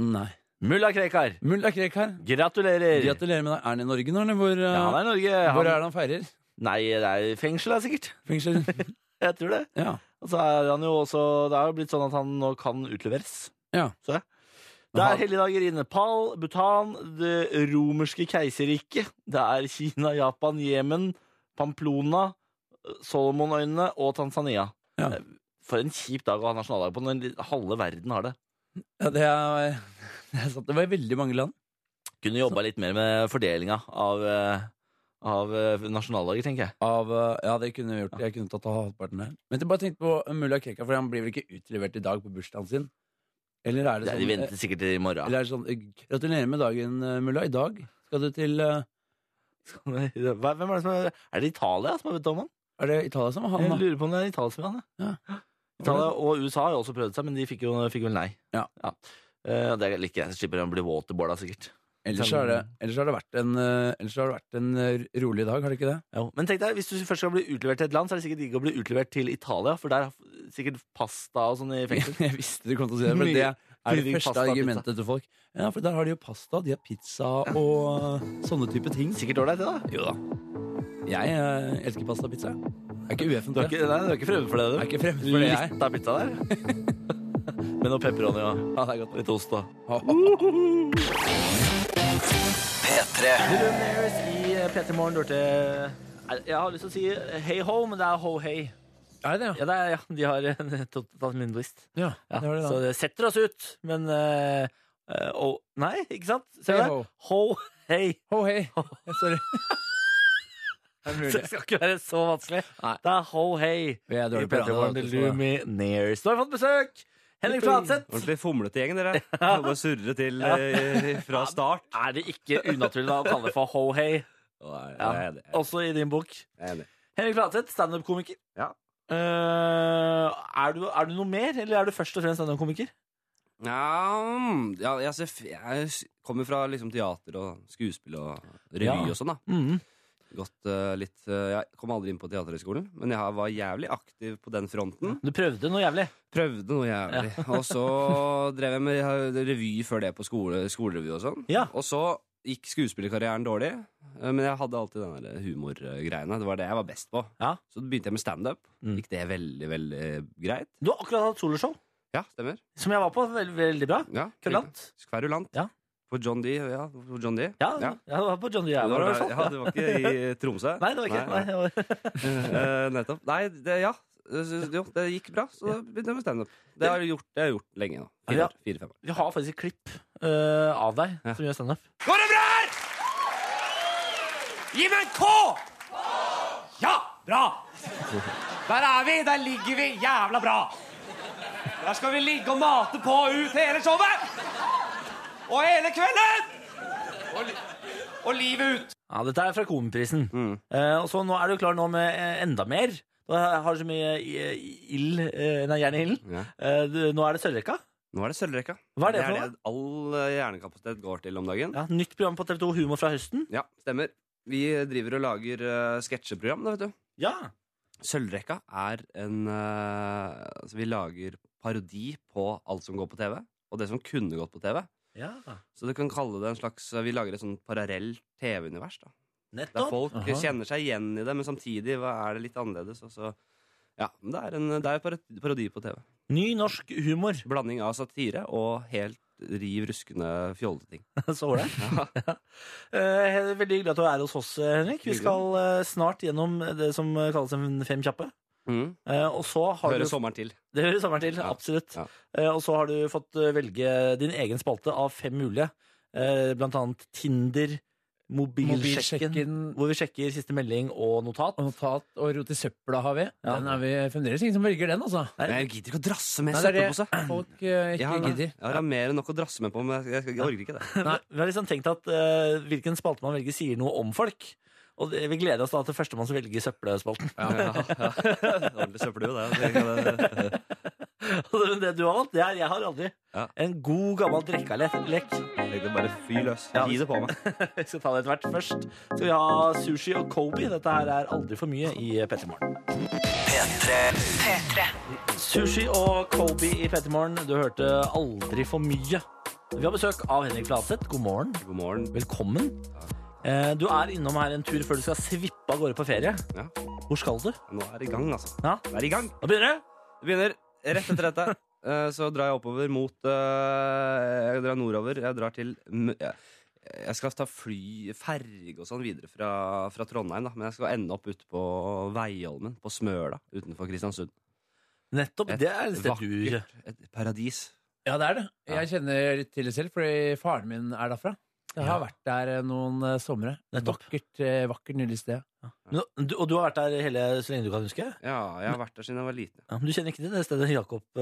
Nei. Mulla Krekar. Mulla Krekar. Gratulerer. Gratulerer med deg. Er han i Norge nå, eller hvor, eh, ja, han er i Norge. hvor er Han... det han feirer? Nei, det er i fengsel, er sikkert. Fengsel? Jeg tror det. Ja. Og så er han jo også Det er jo blitt sånn at han nå kan utleveres. Ja. Så ja. Det Aha. er helligdager i Nepal, Bhutan, det romerske keiserriket. Det er Kina, Japan, Jemen, Pamplona, Solomonøyene og Tanzania. Eh, Ja. For en kjip dag å ha nasjonaldag på. Når halve verden har det. Ja, det er, det er sant. Det var i veldig mange land. Kunne jobba litt mer med fordelinga av, eh, av eh, nasjonaldager, tenker jeg. Av, eh, ja, det kunne vi gjort. Jeg kunne tatt av halvparten her. Men jeg bare tenkte på mulla Krekar, for han blir vel ikke utlevert i dag på bursdagen sin? Eller er det Ja, sånn, de venter sikkert til i eh, morgen. Eller er det sånn eh, Gratulerer med dagen, eh, mulla. I dag skal du til eh, Hva- Hvem er det som er Er det Italia som har bedt om han? Er det Italia som har Jeg han, da? lurer på om det er Italia som er han, ja. Italia Hvordan- og USA har jo også prøvd seg, men de fikk, jo, fikk vel nei. Ja. Eh, det liker jeg. Så slipper han å bli waterboarda, sikkert. Ellers har det, ellers har det vært en, eh, ellers har det vært en eh, rolig dag, har det ikke det? Men tenk deg, hvis du først skal bli utlevert til et land, så er det sikkert digg å bli utlevert til Italia, for der er sikkert pasta og sånn i fengsel. Jeg visste du kom til å si det, for Mye- det er det mye første pasta og argumentet til folk. Ja, for der har de jo pasta, de har pizza og eh, sånne type ting. Sikkert ålreit, det, da. Jo da. Jeg eh, elsker pasta og pizza. Jeg er ikke UF-en Du for er det. ikke, nei, du er ikke fremmed for det, du. Jeg er ikke fremmed for det, jeg. Litt av pizza der. Med noe pepperoni og Ja, det er godt. litt ost, da. Mm. Lumineers i P3 Morgen lurte Jeg har lyst til å si eh, hey ho, men det er ho hey. Er det Ja, det er, ja. De har eh, tatt tatt min list. Ja, Ja, det var det da. så det setter oss ut, men eh, eh, oh, Nei, ikke sant? Ser du Hey det? ho. Ho, hey. Ho hei. Ja, Sorry. Det er Så mulig. det skal ikke være så vanskelig. Nei. Det er ho, hey. Vi er I dårlige på P3 radio, Morgen vet til du, så det- Lumineers. Nå har vi fått besøk! Henrik Flatseth. Ordentlig fomlete gjeng, dere. Bare surre til eh, fra start. Er det ikke unaturlig da å kalle det for ho, hey? Ja, jeg er enig. Også i din bok. Jeg er enig. Henrik Flatseth, standup-komiker. Ja. Eh, er, du, er du noe mer, eller er du først og fremst standup-komiker? Ja, mm, ja, jeg, ser f- jeg s- kommer fra liksom teater og skuespill og revy Ja. og sånn, da. Gått, eh, litt, eh, jeg kom aldri inn på Teaterhøgskolen, men jeg har- var jævlig aktiv på den fronten. Du prøvde noe jævlig. Prøvde noe jævlig. Og så drev jeg med eh, revy før det på skole, skolerevy og sånn. Ja. Og så gikk skuespillerkarrieren dårlig, eh, men jeg hadde alltid den der humorgreiene. Det var det jeg var best på. Ja. Så begynte jeg med standup. Mm. Gikk det veldig, veldig greit? Du har akkurat hatt soloshow, Ja, stemmer. som jeg var på. Veldig, veldig bra. Ja, Kverulant. Skverulant. Ja. På John D. Ja, på John D. Ja, ja. jeg var på John Dyer. Det var, i hvert fall. ja, det var ikke i Tromsø? Nei, det var ikke nei, Nei, nei. det var- Eh, nettopp. Nei, det, ja. Jo, det gikk bra, så da begynte jeg med standup. Det har jeg gjort, det har jeg gjort lenge nå. Ja. Fire, år, fire, fem år. Vi har faktisk et klipp eh, av deg Ja. som gjør standup. Går det bra her? Gi meg en K! Ja, bra. Der er vi. Der ligger vi jævla bra. Der skal vi ligge og mate på ut hele showet. Og hele kvelden. Og, li og livet ut. Ja, dette er fra Komiprisen. Mm. Eh, og så nå er du klar nå med eh, enda mer. Du har så mye eh, ild eh, Nei, jern i ilden. Ja. Eh, du- nå er det Sørrekka. Nå er det sølvrekka. Hva er det for noe? det all eh, hjernekapasitet går til om dagen. Ja, Ja, nytt program på TV2 Humor fra høsten. stemmer. Vi driver og lager eh, sketsjeprogram, da, vet du. Ja. Sølvrekka er en eh, Altså, vi lager parodi på alt som går på TV, og det som kunne gått på TV. ja. Så du kan kalle det en slags Vi lager et sånn parallell TV-univers. da Der Nettopp. folk Aha. kjenner seg igjen i det, men samtidig hva er det litt annerledes. Og så, ja, men det er en det er en parodi- parodi på TV. Ny norsk humor. Blanding av satire og helt riv ruskende fjollete ting. Så ålreit. Eh, veldig hyggelig at du er hos oss, Henrik. Vi Hyggelig. skal eh, snart gjennom det som kalles en fem kjappe. Mm. Eh, og så har Hører du, sommeren til. det hører sommeren til, Ja. absolutt. Ja. Eh, og så har du fått eh, velge din egen spalte av fem mulige. Eh, blant annet Tinder, mobilsjekken, Mobilsjekken. hvor vi sjekker siste melding og notat. Og notat og rot i søpla har vi. Ja. Den er vi fremdeles ingen som velger den, altså. Men jeg gidder ikke å drasse med Nei, det er det søppelpose. folk eh, Jeg ikke har, gidder. jeg har mer enn nok å drasse med på, men jeg, jeg, jeg orker ikke det. Nei. Vi har liksom tenkt at eh, hvilken spalte man velger, sier noe om folk. Og det- vi gleder oss da til førstemann som velger søppelspalten. Ja, ja, Ordentlig søppelhue, det. det. Altså, Men det du har valgt, det er jeg har aldri. Ja. En god, gammel drikkalek. Egentlig bare fyr løs. Gi det på meg. Vi skal ta det etter hvert. Først skal vi ha sushi og Kobe. Dette her er aldri for mye i P3 Morgen. Sushi og Kobe i P3 Morgen. Du hørte aldri for mye. Vi har besøk av Henrik Flatseth. God morgen. God morgen. Velkommen. Eh, Du er innom her en tur før du skal svippe av gårde på ferie. Ja. Hvor skal du? Nå er det i gang, altså. Ja. Det er i gang. Da begynner det. Det begynner rett etter dette. Eh, Så drar jeg oppover mot eh, Jeg drar nordover. Jeg drar til M- eh, Jeg skal ta fly, ferge og sånn videre fra, fra Trondheim, da. Men jeg skal ende opp ute på Veiholmen, på Smøla utenfor Kristiansund. Nettopp. Et Det er et sted du Vakkert. Et paradis. Ja, det er det. Ja. Jeg kjenner litt til det selv, fordi faren min er derfra. Jeg har Ja. vært der eh, noen eh, somre. Nettopp. Vakkert, eh, vakkert nydelig sted. Men du- Og du har vært der hele så lenge du kan huske? Ja, jeg har vært der siden jeg var liten. Ja, men du kjenner ikke til det stedet Jakob eh,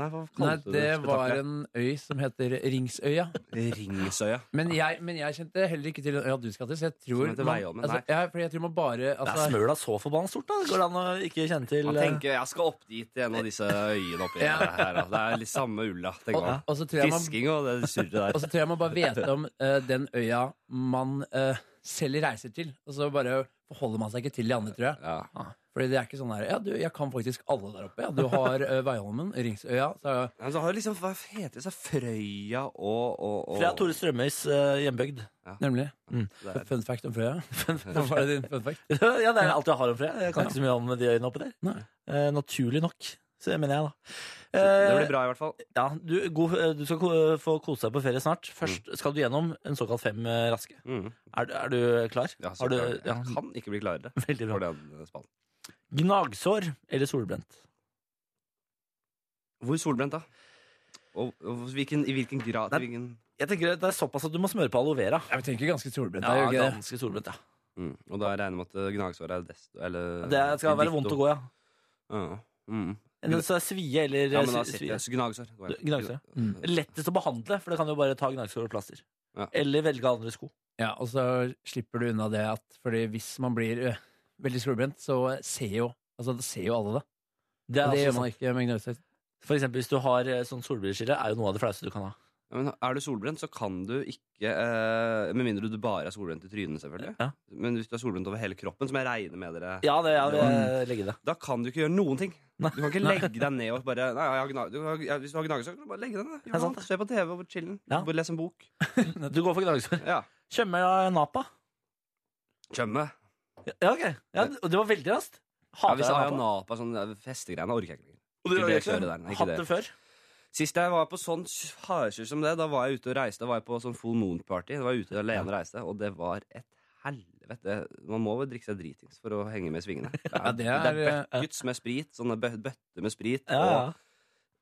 Nei, hva Nei, kalte du det var spetakkelet? en øy som heter Ringsøya. Ringsøya. Men jeg, men jeg kjente heller ikke til den øya du skal til, så jeg tror heter man- Veiholmen, altså, ja, fordi jeg tror man bare Det er altså, Smøla så forbanna stort, da? Går det an å ikke kjenne til Han eh, tenker jeg skal opp dit til en av disse øyene oppi Ja. her. Da. Det er litt samme ulla. og, tenker han. og så tror jeg man Fisking og det surret der. Og så tror jeg man bare vet om eh, den øya man eh, selv reiser til. Og så bare forholder man seg ikke til de andre, tror jeg. Ja. Fordi det er ikke sånn her Ja, du, jeg kan faktisk alle der oppe. Ja. Du har eh, Veiholmen, Ringsøya så, Men så har det liksom, Hva heter det? Så Frøya og, og, og Fra Tore Strømøys eh, hjembygd. Mm. Nemlig. Det er- Fun fact om Frøya. Hva var det din fun fact? ja, det er alt jeg har om Freya. Jeg kan ikke så mye om de øyene oppi der. Nei. Eh, naturlig nok, så det mener jeg, da. Det blir Eh, bra, i hvert fall. ja, du, god, eh, du skal ko- få kose deg på ferie snart. Først skal du gjennom en såkalt fem eh, raske. Mm. Er, du- er du klar? Ja, så Har du, klar. ja, Jeg kan ikke bli klarere veldig for bra. den eh, spalten. Gnagsår eller solbrent? Hvor solbrent, da? Og, og hvilken, i hvilken grad Nei. hvilken, Jeg tenker Det er såpass at du må smøre på aloe vera. Jeg tenker ganske solbrent. Ja, Ja, det, ganske solbrent, ja. mm. Og da regner jeg med at eh, gnagsåret er desto eller, Det skal være vondt å gå, ja. Ja. Mm. Enten så er svie eller ja, men da svi- sitter svie. jeg Gnagsår. går jeg. Gnagsår, Mm. Lettest å behandle, for det kan jo bare ta gnagsår og plaster. Ja. Eller velge andre sko. ja, og så slipper du unna det at Fordi hvis man blir eh, veldig solbrent, så ser jo Altså, det ser jo alle det. Det er Og det altså gjør sant. man ikke med gnagsår. For eksempel hvis du har eh, sånn solbrilleskille, er jo noe av det flaueste du kan ha. Ja, men er du solbrent, så kan du ikke eh, Med mindre du bare er solbrent i trynet, selvfølgelig. Ja. Men hvis du er solbrent over hele kroppen, som jeg regner med dere Ja, det jeg vil jeg legge det. Da kan du ikke gjøre noen ting. Nei. Du kan ikke legge deg ned og bare nei, jeg har gna- du har, ja, Hvis du har gnagesår, kan du bare legge deg ned. er Gjør sant, noe. Se på TV og chillen. Ja. Bare Les en bok. Du går for gnagsår. Ja. Tjømme av Napa. Tjømme. Ja, ok. Ja, og det var veldig raskt. Ja, Hater hvis jeg Aya Napa. Napa sånn eh, festegreiene orker jeg ikke lenger. Og du ikke har det ikke kjøret der, nei, ikke Hatt det. det før? Sist jeg var på sånn hardkjør som det, da var jeg ute og reiste. Da var jeg på sånn Full Moon Party. Da var jeg ute alene og reiste, og det var et helvete. Man må vel drikke seg dritings for å henge med i svingene. Det Ja, er, det det er, er, buckets med sprit. Sånne bø- bøtter med sprit. eh, Ja, ja.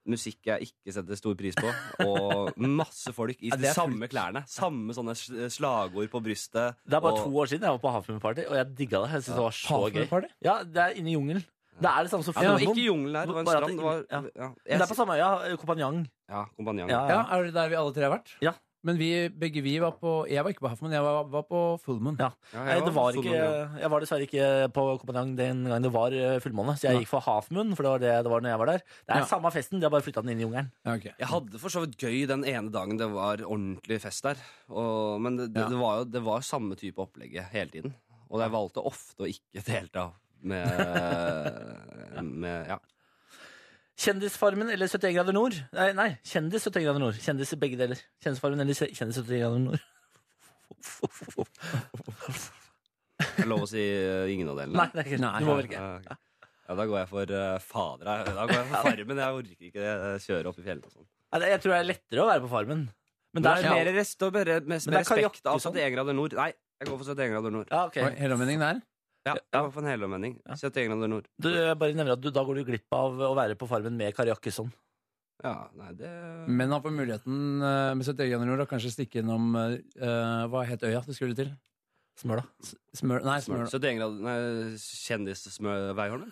Og musikk jeg ikke setter stor pris på. Og masse folk i Ja, det de er samme fullt. klærne. Samme sånne sl- slagord på brystet. Det er bare og- to år siden jeg var på Havfrueparty, og jeg digga det. Jeg synes det var så Havfrueparty? gøy. Ja, Det er inne i jungelen. Det er det samme som Ja, det var ikke Fjordmoen. jungelen her, det var en Bare at strand. Det det- var, ja. ja. Men det er Jeg, på samme øya. eh, Kompanjong. ja, kompanjong. Ja, ja, er det der vi alle tre har vært? Ja. Men vi, begge vi var på Jeg var ikke på Half Moon, jeg var, var på Full Moon. Ja. Ja, jeg Nei, det var ikke, solbrent, ja. jeg var dessverre ikke på kompanjong den gangen det var eh, fullmåne, så jeg Nei. gikk for Halfmoon, for det var det det var når jeg var der. Det er Ja. samme festen, de har bare flytta den inn i jungelen. Ja, ok. Jeg hadde for så vidt gøy den ene dagen det var ordentlig fest der. Og, men det, det, Ja. det var jo det var samme type opplegget hele tiden. Og jeg valgte ofte å ikke delta med, med ja. Kjendisfarmen eller 71 grader nord? Nei, nei kjendis 71 grader nord. Kjendis i begge deler. Kjendisfarmen eller se- kjendis 71 grader nord. Er det lov å si eh, ingen av delene? Nei, det er ikke Du må velge. Ja, ok. Ja, da går jeg for eh, fader. jeg- Da går jeg for Farmen. Jeg orker ikke eh, kjøre opp i fjellene og sånn. Nei, det- Jeg tror det er lettere å være på Farmen. Men Men det er ja. mer, rest, og bare- med, Men med det er respekt kajakk, av sånn. 71 grader nord. Nei, jeg går for 71 grader nord. Ja, ok. Oi, Hele omvendingen der? Ja, det var for en helomvending. Ja. Så jeg til England eller nord. Du, jeg bare nevner at du, Da går du glipp av å være på Farmen med sånn. Kari Jakkesson. Ja, nei, det Men han får muligheten eh, med sitt eget generord å kanskje stikke innom eh, eh, Hva het øya du skulle til? Smøla. S- Smør... Nei, Smør. Smør... Så til England Nei, Kjendissmø-Veiholmen?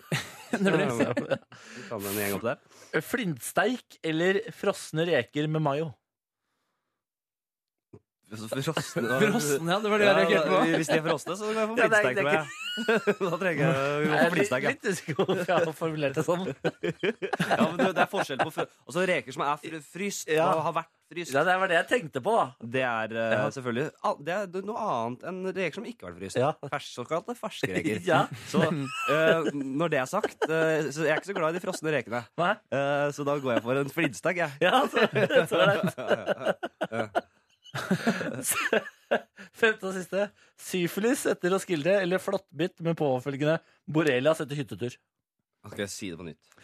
Vi tar med en gjeng opp der. Flintsteik eller frosne reker med mayo? Frosne, Frossen, ja, det var det jeg reagerte på. Hvis de er frosne, så kan jeg Ja, få det er- flintsteik det er med. da trenger jeg jo Jeg er litt, flintsteik. ja. Eh, litt usikker på hvorfor jeg har formulert det sånn. Ja, men det, det er forskjell på fr altså, reker som er fr fryst Ja. og har vært fryst. Ja, det var det jeg tenkte på, da. Det er eh, selvfølgelig ah, Det er noe annet enn reker som ikke har vært fryst. Ja. Fersk, såkalte ferske reker. Ja. Så eh, når det er sagt, eh, så jeg er ikke så glad i de frosne rekene. Nei. Eh, så da går jeg for en flintsteik, jeg. Ja, så, så er det. Femte og siste. Syfilis etter Roskilde eller flåttbitt med påfølgende borrelias etter hyttetur. Skal jeg si det på nytt?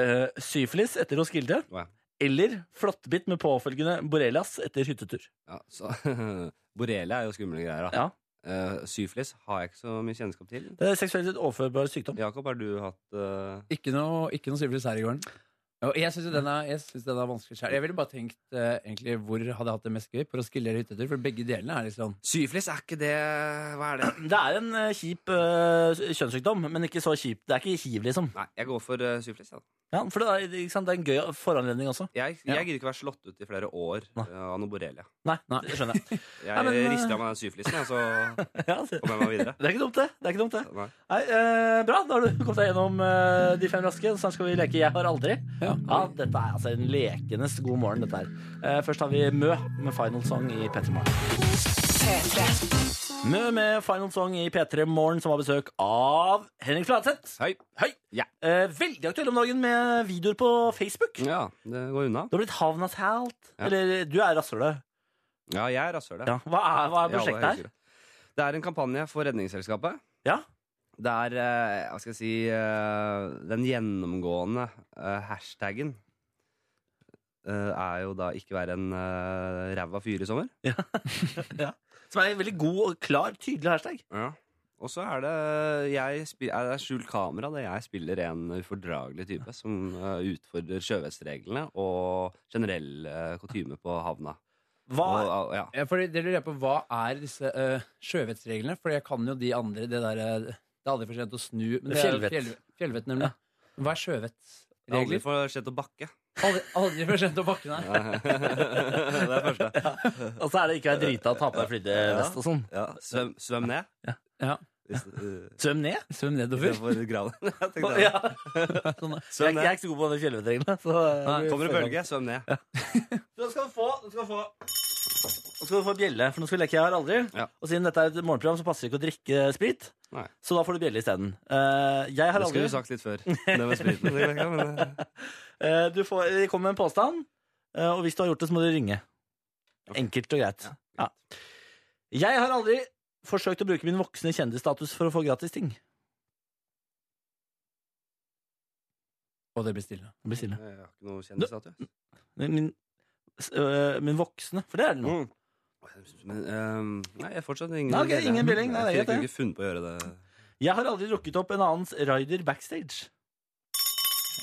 Eh, syfilis etter Roskilde Å, ja. eller flåttbitt med påfølgende borrelias etter hyttetur. Ja, så, Borrelia er jo skumle greier, da. Ja. Eh, syflis har jeg ikke så mye kjennskap til. Det er seksuelt overførbar sykdom. Jakob, har du hatt eh, Ikke noe, ikke noe syfilis her i gården. Og jeg syns den, er- jeg synes den er vanskelig selv. Jeg ville bare tenkt eh, egentlig hvor hadde jeg hatt det mest gøy på Roskilde eller hyttetur, for begge delene er litt sånn Syflis er ikke det Hva er det? Det er en eh, kjip eh, kjønnssykdom, men ikke så kjip. Det er ikke hiv, liksom. Nei, jeg går for uh, syflis. Ja. Ja, for det er, ikke sant? det er en gøy foranledning også. Jeg, jeg Ja. gidder ikke være slått ut i flere år Nei. eh, av noe borrelia. Nei, Nei. det skjønner jeg. Jeg Nei, men, eh, rister av meg den syflisen, jeg, så Ja, det kommer jeg meg videre. det er ikke dumt, det. det, er ikke dumt det. Nei. Nei, eh, Bra, da har du kommet deg gjennom eh, de fem raske. Så skal vi leke Jeg har aldri. Ja. Ja, Dette er altså en lekenes god morgen. dette her. Eh, først har vi Mø med Final Song i P3 Morgen. Mø med Final Song i P3 Morgen, som har besøk av Henrik Fladseth. Hei. Hei. Ja. Eh, veldig aktuell om dagen med videoer på Facebook. ja, det går unna. Du har blitt havnashalt. Ja. Eller du er rasshølet. Ja, jeg er rasshøl, Ja. Hva, er- hva er I alle prosjektet her? høyder. Det er en kampanje for Redningsselskapet. Ja. Det er, eh, hva skal jeg si, eh, den gjennomgående eh, hashtaggen eh, er jo da 'ikke være en eh, ræva fyr i sommer'. Som er en veldig god og klar, tydelig hashtag. Og så er det jeg spi- er det er skjult kamera, det jeg spiller en ufordragelig type som eh, utfordrer sjøvettreglene og generell eh, kutyme på havna. Hva Og, og- ja. Ja, fordi det lurer jeg på, Hva er disse uh, sjøvettsreglene? For jeg kan jo de andre. Det, der, eh, det er aldri for sent å snu. Men det Fjellvett. Er jo fjell, fjellvett nemlig. Hva er Det er aldri sjøvettsregler? for sent å bakke. Aldri, aldri for sent å bakke, nei. det er det første. Og så altså, er det ikke være drita og ta på deg flytevest og sånn. Ja, svøm, svøm ned. Ja. Hvis, uh, Svøm ned. Svøm nedover. Istedenfor graven. Jeg tenkte det. Ja. Sånn, Jeg, Svøm jeg er ned. ikke så god på de fjellvettreglene. så- eh, Kommer en bølge, svøm ned. Nå skal du få Nå skal du få Nå skal du få bjelle, for nå skal vi leke Jeg har aldri. Ja. Og siden dette er et morgenprogram, så passer det ikke å drikke sprit. Nei. Så da får du bjelle isteden. Eh, jeg har Det aldri skulle du sagt litt før. Det med spriten. Det kan jeg, men, eh, Eh, Du får jeg kommer med en påstand, eh, og hvis du har gjort det, så må du ringe. Enkelt og greit. Ja. Jeg har aldri forsøkt å bruke min voksne kjendisstatus for å få gratis ting. Og det blir stille. Det blir stille. Jeg har ikke noe kjendisstatus. Min, min, s- øh, min voksne, for det er det nå. Mm. Men ehm, nei, jeg fortsatt ingen Nei, ok, ingen bjelling. Nei, det er Jeg kunne greit, det. ikke funnet på å gjøre det. Jeg har aldri drukket opp en annens rider backstage.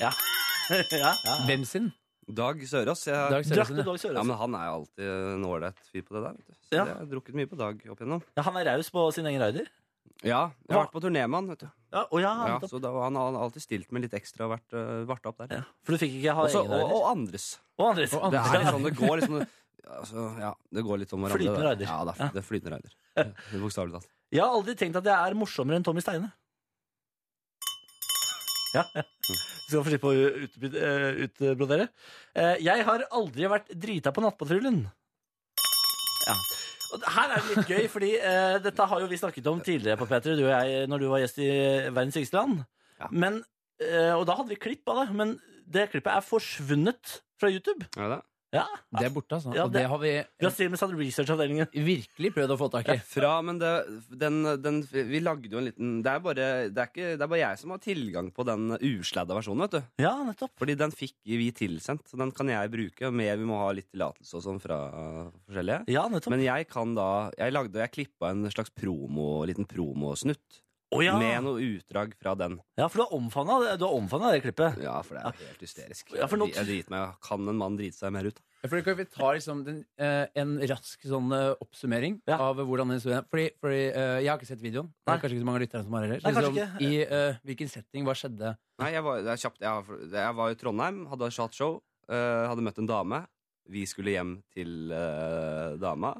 Ja. ja, ja. Hvem sin? Dag Sørås. Jeg, Dag Drakk du Søresen. Dag ja, Sørås? men han er jo alltid en ålreit fyr på det der. Vet du. Så Ja. jeg har drukket mye på Dag opp igjennom. Ja, han er raus på sin egen rider? Ja, jeg Hva? har vært på turné med han. Vet du. Ja, å ja, Ja, nettopp. så da, han har alltid stilt med litt ekstra og vært eh, varta opp der. ja. For du fikk ikke ha Også, egen og, rider? og andres. Og Andres. og Det Andres. er litt sånn det går liksom altså, ja, Det går litt om hverandre. Flytende det. rider. Ja, det Ja. er, det er flytende rider. Ja, Bokstavelig talt. Jeg har aldri tenkt at jeg er morsommere enn Tommy Steine. Ja, ja. Du skal få slippe å utby- eh, utbrodere. Eh, Jeg har aldri vært drita på Nattpatruljen. Ja. Og det- Her er det litt gøy, fordi eh, dette har jo vi snakket om tidligere på Petre, du og jeg, når du var gjest i Verdens rikeste land. Ja. Men, eh, og da hadde vi klipp av det, men det klippet er forsvunnet fra YouTube. Er det? Ja. Det er borte, altså. Ja, Og det det- har vi Vi har streamet hadde researchavdelingen. virkelig prøvd å få tak i. Fra, men det, den, den, vi lagde jo en liten det er, bare, det, er ikke, det er bare jeg som har tilgang på den usladda versjonen, vet du. Ja, nettopp. Fordi den fikk vi tilsendt, så den kan jeg bruke. Med, vi må ha litt tillatelse og sånn fra uh, forskjellige. Ja, nettopp. Men jeg kan da Jeg lagde, jeg klippa en slags promo, liten promosnutt. Å, ja. med noe utdrag fra den. Ja, for du har omfavna det, du har omfavnet det klippet. Ja, for det er helt hysterisk. Ja, for nå- Jeg driter meg. Kan en mann drite seg mer ut? Ja, fordi kan vi ta liksom den, eh, en rask sånn eh, oppsummering Ja. av hvordan den historien Fordi, fordi eh, jeg har ikke sett videoen. Det Nei. er kanskje ikke så mange lyttere som har heller. Nei, Så kanskje liksom, I eh, hvilken setting? Hva skjedde? Nei, jeg var, det er kjapt, jeg, har- jeg var i Trondheim, hadde et chatshow, eh, hadde møtt en dame. Vi skulle hjem til eh, dama,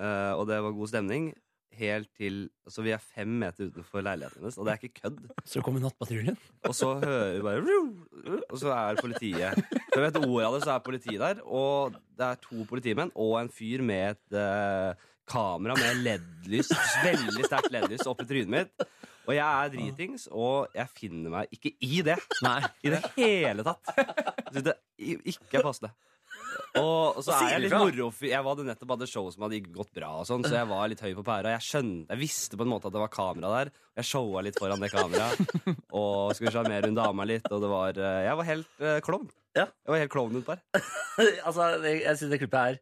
eh, og det var god stemning. Helt til Altså, vi er fem meter utenfor leiligheten hennes, og det er ikke kødd. Så kom nattpatruljen. Og så hører vi bare Og så er politiet Før vi vet ordet av det, så er politiet der. Og det er to politimenn og en fyr med et eh, kamera med LED-lys, veldig sterkt LED-lys, oppi trynet mitt. Og jeg er dritings, og jeg finner meg ikke i det. Nei. I det hele tatt. Jeg synes det i- ikke er passende. Og så er jeg litt morofyr. Jeg hadde nettopp hatt et show som hadde ikke gått bra, og sånn, så jeg var litt høy på pæra. Jeg skjønte, jeg visste på en måte at det var kamera der. Jeg showa litt foran det kameraet. Og skulle sjarmere hun dama litt, og det var eh, Jeg var helt eh, klovn. Ja. Jeg var helt klovnutbar. altså, jeg, jeg syns det klippet er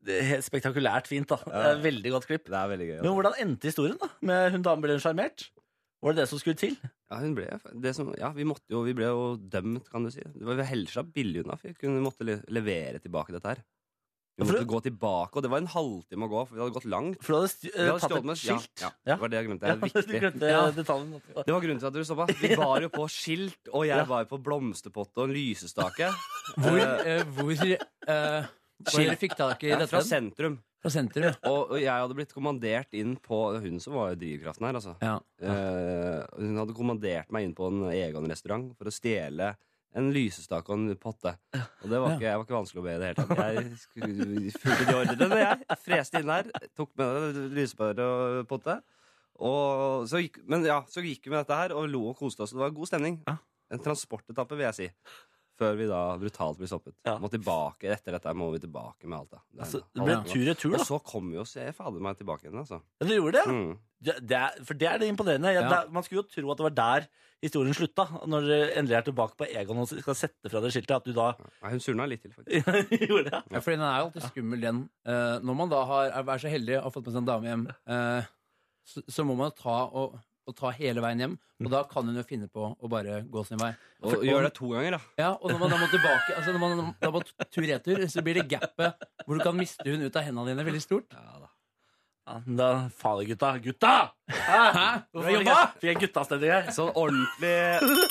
det er helt spektakulært fint. da Det er et Veldig godt klipp. Det er veldig gøy. Men hvordan endte historien? da? Med Hun damen ble hun sjarmert? Var det det som skulle til? Ja, hun ble, det som, ja vi, måtte jo, vi ble jo dømt, kan du si. Det var Hellstad billig unna. for Vi kunne, måtte le levere tilbake dette her. Vi Ja, for måtte det- gå tilbake, og det var en halvtime å gå, for vi hadde gått langt. For du hadde st Vi eh, hadde tatt stjålet med et skilt. Ja, ja, Ja. det var det jeg glemte. Det er du viktig. glemte Ja. detaljen. Det var grunnen til at du stoppa. Vi bar jo på skilt, og jeg Ja. var på blomsterpotte og en lysestake. Hvor, eh, hvor eh, hvor dere fikk tak i Ja, dette? fra sentrum. Fra sentrum. Og, og jeg hadde blitt kommandert inn på Hun som var drivkraften her, altså. Ja. Eh, hun hadde kommandert meg inn på en egen restaurant for å stjele en lysestake og en potte. Og det var ikke, jeg var ikke vanskelig å be i det hele tatt. Jeg skulle- fulgte de ordrene, jeg. Freste inn der, tok med meg lysepære og potte. Og så gikk, men ja, så gikk vi med dette her og lo og koste oss. Det var god stemning. Ja. En transportetappe, vil jeg si. Før vi da brutalt ble stoppet. Ja. Må tilbake, Etter dette må vi tilbake med alt. Da. Det er Altså, en det ble halv- tur-retur, og da. så kom vi oss jeg fader meg tilbake igjen, altså. Ja, Du gjorde det, ja? Mm. Det, det er, for det er det imponerende. Jeg, Ja. det, man skulle jo tro at det var der historien slutta. Når dere endelig er tilbake på Egon og skal sette fra det skiltet, at du da Nei, hun surna litt til, faktisk. gjorde det. Ja, fordi den er jo alltid skummel, den. Eh, når man da har, er, er så heldig å ha fått med seg en dame hjem, eh, så, så må man ta, og, og ta hele veien hjem. Mm. Og da kan hun jo finne på å bare gå sin vei. Og, og gjør det to ganger, da. Ja, Og når man da må tilbake Altså når man da må tur-retur, så blir det gapet hvor du kan miste hun ut av hendene dine, veldig stort. Ja, men da fader, gutta. Gutta! Hæ? Hvorfor fikk jeg- Fikk jeg guttastemning her? Sånn ordentlig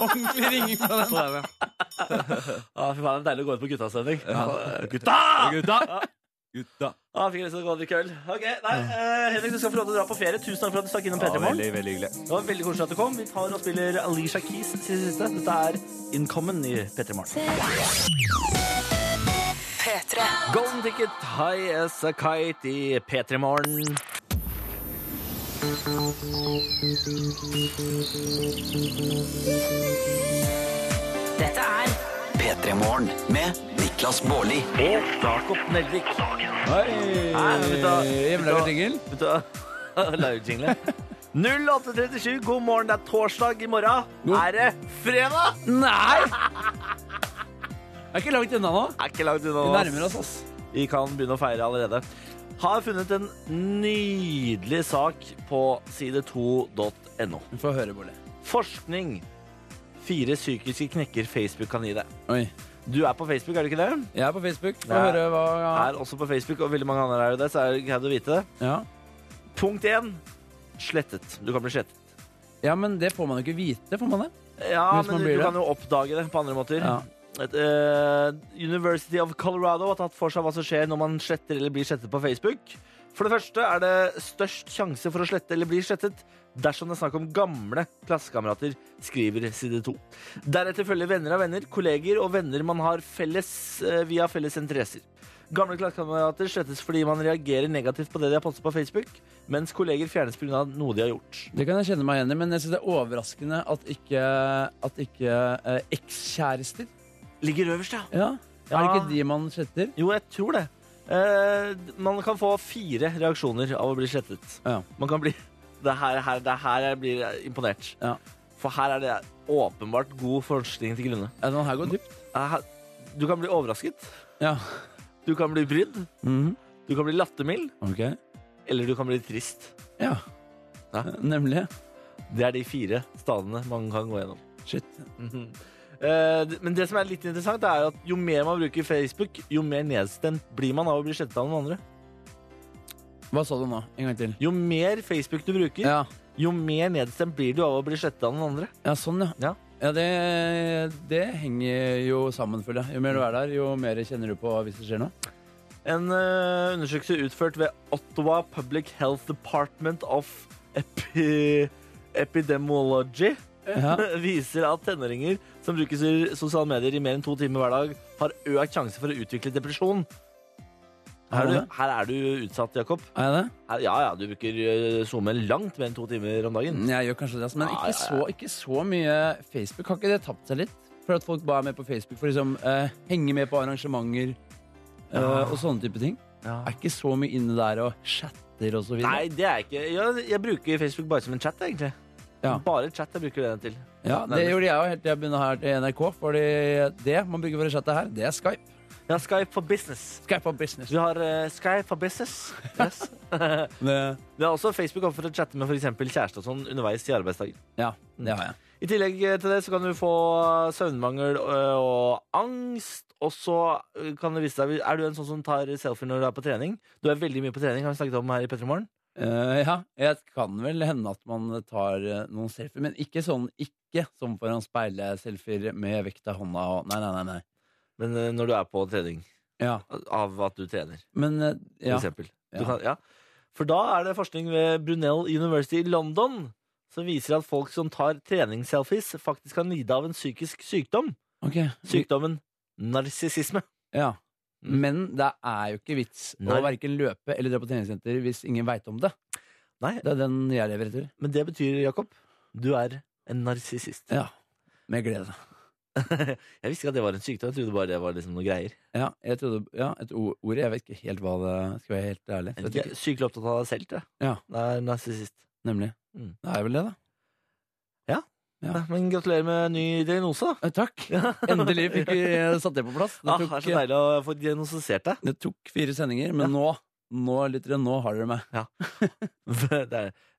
Ordentlig ringing på den. Ja, fy faen, det er deilig å gå ut på guttastemning. Ja. Gutta! Gutta! Gutta. Ja, fikk jeg lyst til å gå og drikke øl. Ok, nei, eh, Henrik, du skal få lov til å dra på ferie. Tusen takk for at du stakk innom P3 Morgen. veldig, veldig hyggelig. Det var veldig koselig at du kom. Vi tar og spiller Alicia Keys til siste. Dette er Incommon i P3 Morgen. Golden Ticket, High as a Kite i P3 Morgen. Dette er P3 Morgen med Niklas Baarli. Og Jakob Nelvik. Hei, men da- Hjemmelaget jingle. Vet du hva? Laujingle. 0837, god morgen. Det er torsdag i morgen. Er det fredag? Nei! Er ikke langt unna nå. Er ikke langt unna. Vi nå, ass. nærmer oss, ass. Vi kan begynne å feire allerede. Har funnet en nydelig sak på side2.no. Vi får høre, Bolle. Forskning. Fire psykiske knekker Facebook kan gi deg. Oi. Du er på Facebook, er du ikke det? Jeg er på Facebook. Få Ja. høre hva Er også på Facebook, og veldig mange andre er jo det, så er det greit å vite det. ja. Punkt én slettet. Du kan bli slettet. ja, men det får man jo ikke vite, får man det? Ja, Hvis men man du, blir du det. kan jo oppdage det på andre måter. Ja. Et, eh, University of Colorado har tatt for seg hva som skjer når man sletter eller blir slettet på Facebook. For det første er det størst sjanse for å slette eller bli slettet dersom det er snakk om gamle klassekamerater, skriver side 2. Deretter følger venner av venner, kolleger og venner man har felles eh, via felles interesser. Gamle klassekamerater slettes fordi man reagerer negativt på det de har postet på Facebook, mens kolleger fjernes pga. noe de har gjort. Det kan jeg kjenne meg igjen i, men jeg synes det er overraskende at ikke, at ikke eh, ekskjærester Ligger øverst, ja. ja. Er det Ja. ikke de man sletter? Jo, jeg tror det. Eh, man kan få fire reaksjoner av å bli slettet. Ja. Man kan bli Det her, her, det her jeg blir imponert. Ja. For her er det åpenbart god forskning til grunne. Ja, den her går dypt. Eh, her- Du kan bli overrasket. Ja. Mhm. Du kan bli brydd. Du kan bli lattermild. Ok. Eller du kan bli trist. Ja. Eh, Ja. Nemlig. Det er de fire stadene man kan gå gjennom. Shit. Mhm. Eh, d- Men det som er litt interessant, er at jo mer man bruker Facebook, jo mer nedstemt blir man av å bli slettet av noen andre. Hva sa du nå? En gang til. Jo mer Facebook du bruker, Ja, jo mer nedstemt blir du av å bli slettet av noen andre. ja sånn, ja. Ja. det, det henger jo sammen, føler jeg. Jo mer du er der, jo mer kjenner du på hvis det skjer noe. En eh, undersøkelse utført ved Ottawa Public Health Department of Epi Epidemiology Ja. viser at tenåringer som bruker s- sosiale medier i mer enn to timer hver dag, har økt sjanse for å utvikle depresjon. Er Her er det? du, her er du utsatt, Jakob. Er jeg det? Her, ja, ja, du bruker eh, SoMe langt mer enn to timer om dagen. Jeg gjør kanskje det, altså, men Ja, ikke ja, så, ikke så mye Facebook. Har ikke det tapt seg litt? For at folk bare er med på Facebook for liksom eh, henge med på arrangementer eh, og sånne type ting. Ja. Er ikke så mye inne der og chatter og så videre. Nei, det er ikke jeg, jeg bruker Facebook bare som en chat, egentlig. Ja. Bare chat jeg bruker den til. ja, det nærmest. gjorde jeg jo helt til jeg begynte her til NRK, fordi det man bruker for å chatte her, det er Skype. Ja, Skype for business. Skype for business. Du har eh, Skype for business. Yes. Det, Det er også Facebook opp for å chatte med for eksempel kjæreste og sånn underveis i arbeidsdagen. ja, det har jeg. I tillegg eh, til det så kan du få søvnmangel ø, og angst. Og så ø, kan det vise seg Er du en sånn som tar selfie når du er på trening? Du er veldig mye på trening, har vi snakket om her i Petremorgen. Eh, ja, jeg kan vel hende at man tar eh, noen selfier, men ikke sånn ikke som foran speilet-selfier med vekta i hånda og Nei, nei, nei. nei. Men ø, når du er på trening. Ja, Av at du trener, men eh, for ja. eksempel. Du Ja. kan, ja. For da er det forskning ved Brunel University i London som viser at folk som tar treningsselfies, faktisk kan lide av en psykisk sykdom. Ok. Sykdommen narsissisme. Ja. Mm. Men det er jo ikke vits Nei. å verken løpe eller dra på treningssenter hvis ingen veit om det. Nei. Det er den jeg lever etter. Men det betyr, Jakob, du er en narsissist. Ja. Med glede. Jeg visste ikke at det var en sykdom. Jeg trodde bare det var liksom noe greier. Ja, jeg trodde, ja, et o- ord Jeg vet ikke helt hva det Skal jeg være helt ærlig. Jeg Vet er ikke. Sykelig opptatt av deg selv, tror jeg. Ja. Det er narsissist. Nemlig. Mm. Det er vel det, da. Ja. Ja, Men gratulerer med ny diagnose, da. Eh, Takk! Endelig fikk vi eh, satt det på plass. Det Ah, det tok, eh, er så deilig å få diagnostisert deg. det tok fire sendinger, men nå nå, lyttere, nå har dere meg. Det er,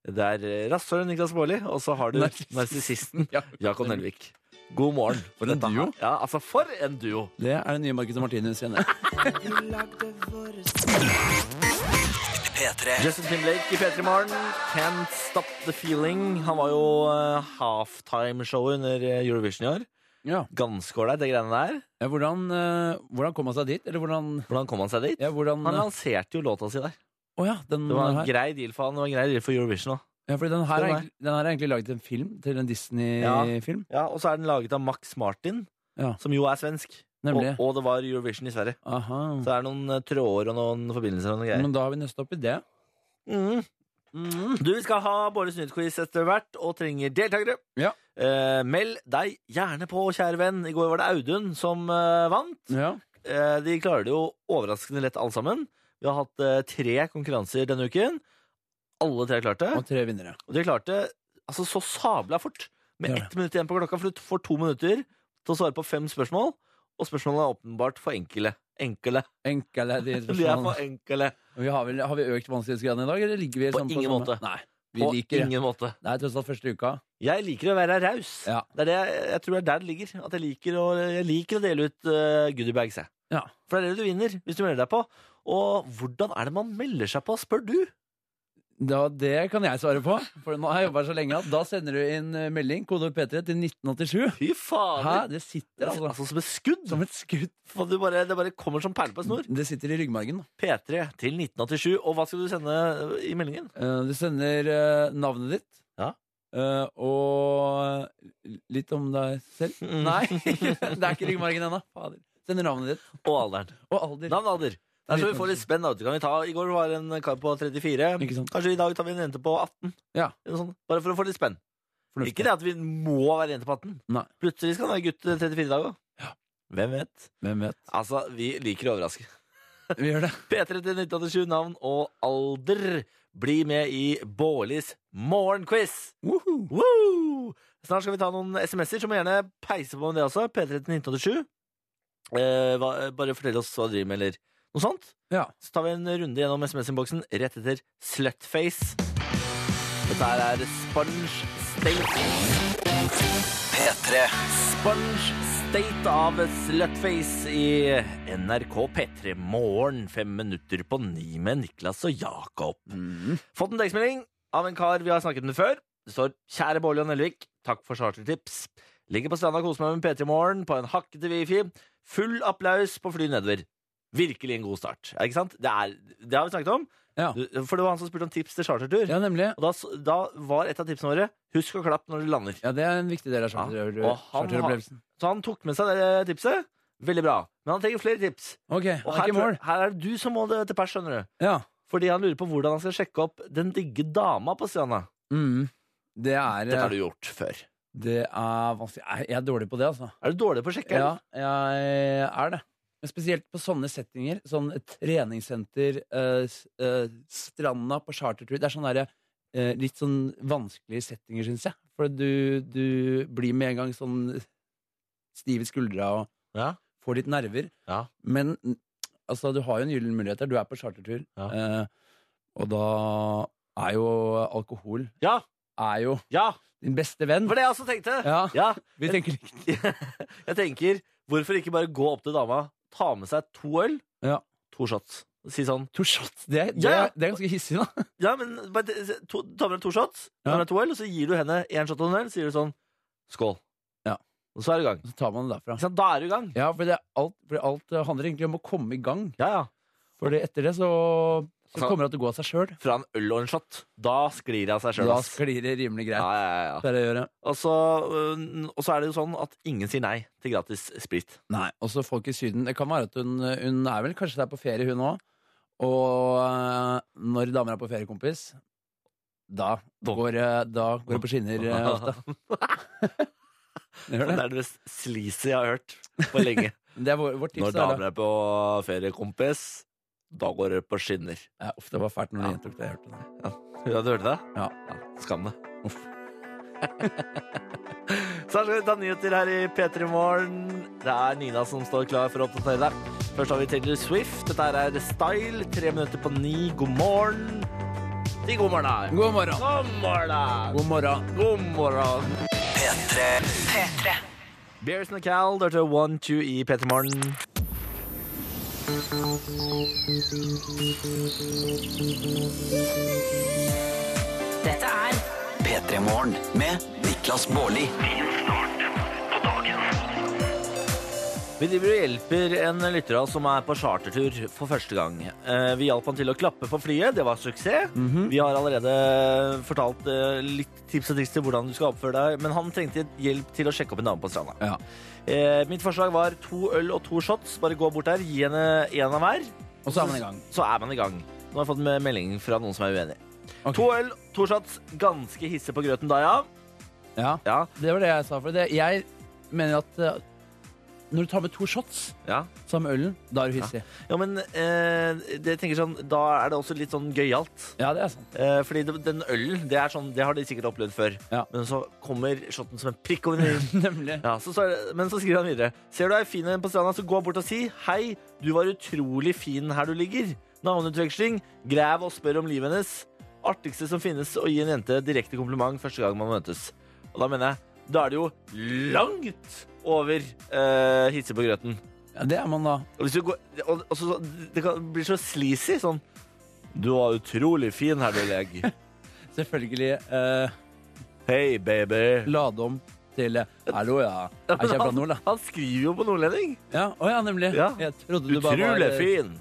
det er rasshølet Niklas Baarli, og så har du Narsissisten. narsissisten Ja. Jakob Nelvik. God morgen. For en Dette her- duo. Ja, altså, for en duo. Det er det nye Marcus og Martinus igjen. det. P3. Justin Timberlake i P3 Morgen. Can't Stop The Feeling. Han var jo uh, halftime-showet under eh, Eurovision i år. Ja. Ganske ålreit, det greiene der. Ja, hvordan, eh, hvordan kom han seg dit? Eller hvordan Hvordan kom han seg dit? ja, hvordan, Han eh, lanserte jo låta si der. Å ja, den Det var en her. grei deal for han, det var en grei deal for Eurovision òg. Ja, fordi den her, Spør er meg. egentlig, den her er egentlig laget til en film, til en Disney-film. Ja, og så er den laget av Max Martin, Ja. som jo er svensk. Og, Nemlig. og det var Eurovision i Sverige. Aha. Så det er noen eh, tråder og noen forbindelser og noen greier. Men da har vi nøsta opp i det. Mm. Du, vi skal ha Bårdes nyttquiz etter hvert, og trenger deltakere. Ja. Eh, meld deg gjerne på, kjære venn. I går var det Audun som eh, vant. Ja. Eh, de klarer det jo overraskende lett alle sammen. Vi har hatt eh, tre konkurranser denne uken. Alle tre klarte. Og tre vinnere. Og de klarte altså så sabla fort, med Ja. ett minutt igjen på klokka, for du får to minutter til å svare på fem spørsmål. Og spørsmålene er åpenbart for enkle. Enkle. Enkle de De er for spørsmålene. enkle. Vi har, vel, har vi økt vanskelighetsgraden i dag, eller ligger vi På sånn ingen samme- måte. Nei. Vi På liker det. ingen måte. Det er tross alt første uka. Jeg liker å være raus. Ja. Det er det jeg, jeg tror det er der det ligger. At jeg liker å, jeg liker å dele ut uh, goodiebags, jeg. Ja. For det er det du vinner hvis du melder deg på. Og hvordan er det man melder seg på, spør du? Da, det kan jeg svare på, for nå har jeg jobba så lenge at da sender du inn eh, melding, kode P3, til 1987. Fy Hæ? fader! Det Det sitter er altså altså som et skudd! som et skudd. For du bare, det bare kommer som perle på en snor. Det sitter i ryggmargen. da. P3 til 1987. Og hva skal du sende eh, i meldingen? Eh, Du sender eh, navnet ditt. Ja. eh, og litt om deg selv. Mm. Nei, det er ikke ryggmargen ennå. Fader. Sender navnet ditt Og alderen. og alder. Navn og alder. Der skal vi få litt spenn. da, vet du. Kan vi ta, I går var det en kar på 34. Ikke sant? Kanskje i dag tar vi en jente på 18. Ja. Eller noe sånt. Bare for å få litt spenn. Fornuftig. Ikke det at vi må være jente på 18. Nei. Plutselig skal det være gutt eh, 34 i dag òg. Hvem vet? Hvem vet? Altså, vi liker å overraske. Vi gjør det. P3 til 1987, navn og alder. Bli med i Bårlis morgenquiz! Woo! Snart skal vi ta noen SMS-er, så må gjerne peise på med det også. P3 til 1987. Eh, hva, bare fortell oss hva du driver med, eller noe sånt. Ja. Så tar vi en runde gjennom SMS-innboksen rett etter Slutface. Dette her er Sponge State. P3 Sponge State av Slutface i NRK P3 Morgen. Fem minutter på ni med Niklas og Jakob. Fått en tekstmelding av en kar vi har snakket med før. Det står 'Kjære Bårli og Nelvik, takk for chartertips'. Ligger på stranda og koser meg med P3 Morgen på en hakkete wifi. Full applaus på fly nedover. Virkelig en god start. Ja, ikke sant? Det, er, det har vi snakket om. Ja. Du- For det var han som spurte om tips til chartertur. Ja, nemlig. Og da, s- da var et av tipsene våre 'husk å klappe når du lander'. Ja, det er en viktig del Ja, av charter- og han charteropplevelsen. Så han tok med seg det tipset. Veldig bra. Men han trenger flere tips. Ok, han Og er her, ikke i mål. tror- her er det du som må det til pers, skjønner du. Ja. Fordi han lurer på hvordan han skal sjekke opp den digge dama på stranda. Mm. Det er eh, Dette har du gjort før. Det er vanskelig. Jeg- Jeg er dårlig på det, altså. Er du dårlig på å sjekke? Ja, eller? jeg er det. Men spesielt på sånne settinger. Sånn treningssenter, eh, s- eh, stranda på chartertur. Det er sånne derre, eh, litt sånn vanskelige settinger, syns jeg. For du, du blir med en gang sånn stiv i skuldra og Ja. får litt nerver. Ja. Men n- altså, du har jo en gyllen mulighet der. Du er på chartertur, Ja. eh, og da er jo alkohol Ja, er jo ja, din beste venn. det var det jeg også tenkte. Ja, Ja, vi tenker likt. jeg tenker, hvorfor ikke bare gå opp til dama, ta med seg to øl, Ja. to shots, si sånn To shots, det, det, Ja, ja. det er ganske hissig, da. Ja, men bare t- se- to, ta med deg to shots, ta Ja. med deg to øl, og så gir du henne én shot og en øl, sier du sånn skål. Ja. Og så er du i gang. Og Så tar man det derfra. Ikke sant? Da er du i gang. Ja, for det, er alt, for alt eh, handler egentlig om å komme i gang. Ja, ja. For det- etter det så, så Så- kommer det til å gå av seg sjøl. Fra en øl og en shot. Da sklir det av seg sjøl. Da sklir det rimelig Ja, greit. ja, ja, ja. Det er det å gjøre. Og så, øh, og så er det jo sånn at ingen sier nei til gratis sprit. Nei, også folk i Syden. Det kan være at hun, hun er vel kanskje der på ferie, hun òg. Og eh, når damer er på ferie, kompis, da går, eh, da går det på skinner eh, ofte. Det Det gjør det. er det mest sleazy jeg har hørt på lenge. Det er vår, vårt tips. Når der, da. damer er på ferie, kompis, da går det på skinner. Ja, uff, det var fælt når de gjentok det. Jeg hørte det. Ja, du hørte det? Ja. Skam det. Uff. Så her skal vi ta nyheter her i P3 Morgen. Det er Nina som står klar for å oppdatere deg. Først har vi Taylor Swift. Dette her er Style. Tre minutter på ni. God morgen. Si god morgen, da. God morgen. God morgen. God morgen. God morgen. P3 Bears and Cal, det er One Two i P3 Morgen. Dette er P3 Morgen med Niklas Baarli. Vi driver og hjelper en lytter av oss som er på chartertur for første gang. Eh, Vi hjalp han til å klappe på flyet. Det var suksess. Vi har allerede fortalt eh, litt tips og triks til hvordan du skal oppføre deg, men han trengte hjelp til å sjekke opp en dame på stranda. Ja. Eh, Mitt forslag var to øl og to shots. Bare gå bort der, gi henne én av hver, Og så er man i gang. så er man i gang. Nå har jeg fått en melding fra noen som er uenig. Ok. To øl, to shots. Ganske hisse på grøten da, ja. Ja. Ja. Det var det jeg sa for det. Jeg mener at eh, når du tar med to shots Ja. sammen med ølen, da er du hissig. Ja, men eh, det jeg tenker sånn, da er det også litt sånn gøyalt. Ja, det er sant. Eh, fordi det, den ølen, det, er sånn, det har de sikkert opplevd før. Ja. Men så kommer shotten som en prikk over i Nemlig. ja, så, så, er det- Men så skriver han videre. Ser du ei fin en på stranda, så gå bort og si 'Hei, du var utrolig fin her du ligger'. Navneutveksling. Grav og spør om livet hennes. Artigste som finnes å gi en jente direkte kompliment første gang man møtes. Og da mener jeg, da er det jo langt over eh, hisse på grøten. Ja, det er man da. Og hvis du går, og, og så, det kan bli så sleazy sånn 'Du var utrolig fin her du ligger'. Selvfølgelig eh, Hei, baby. lade om til eh, Hallo, ja. Er ikke jeg fra nord, da? Han skriver jo på nordlending. Ja, å ja, nemlig. Ja. Jeg trodde du bare var Utrolig eh, fin.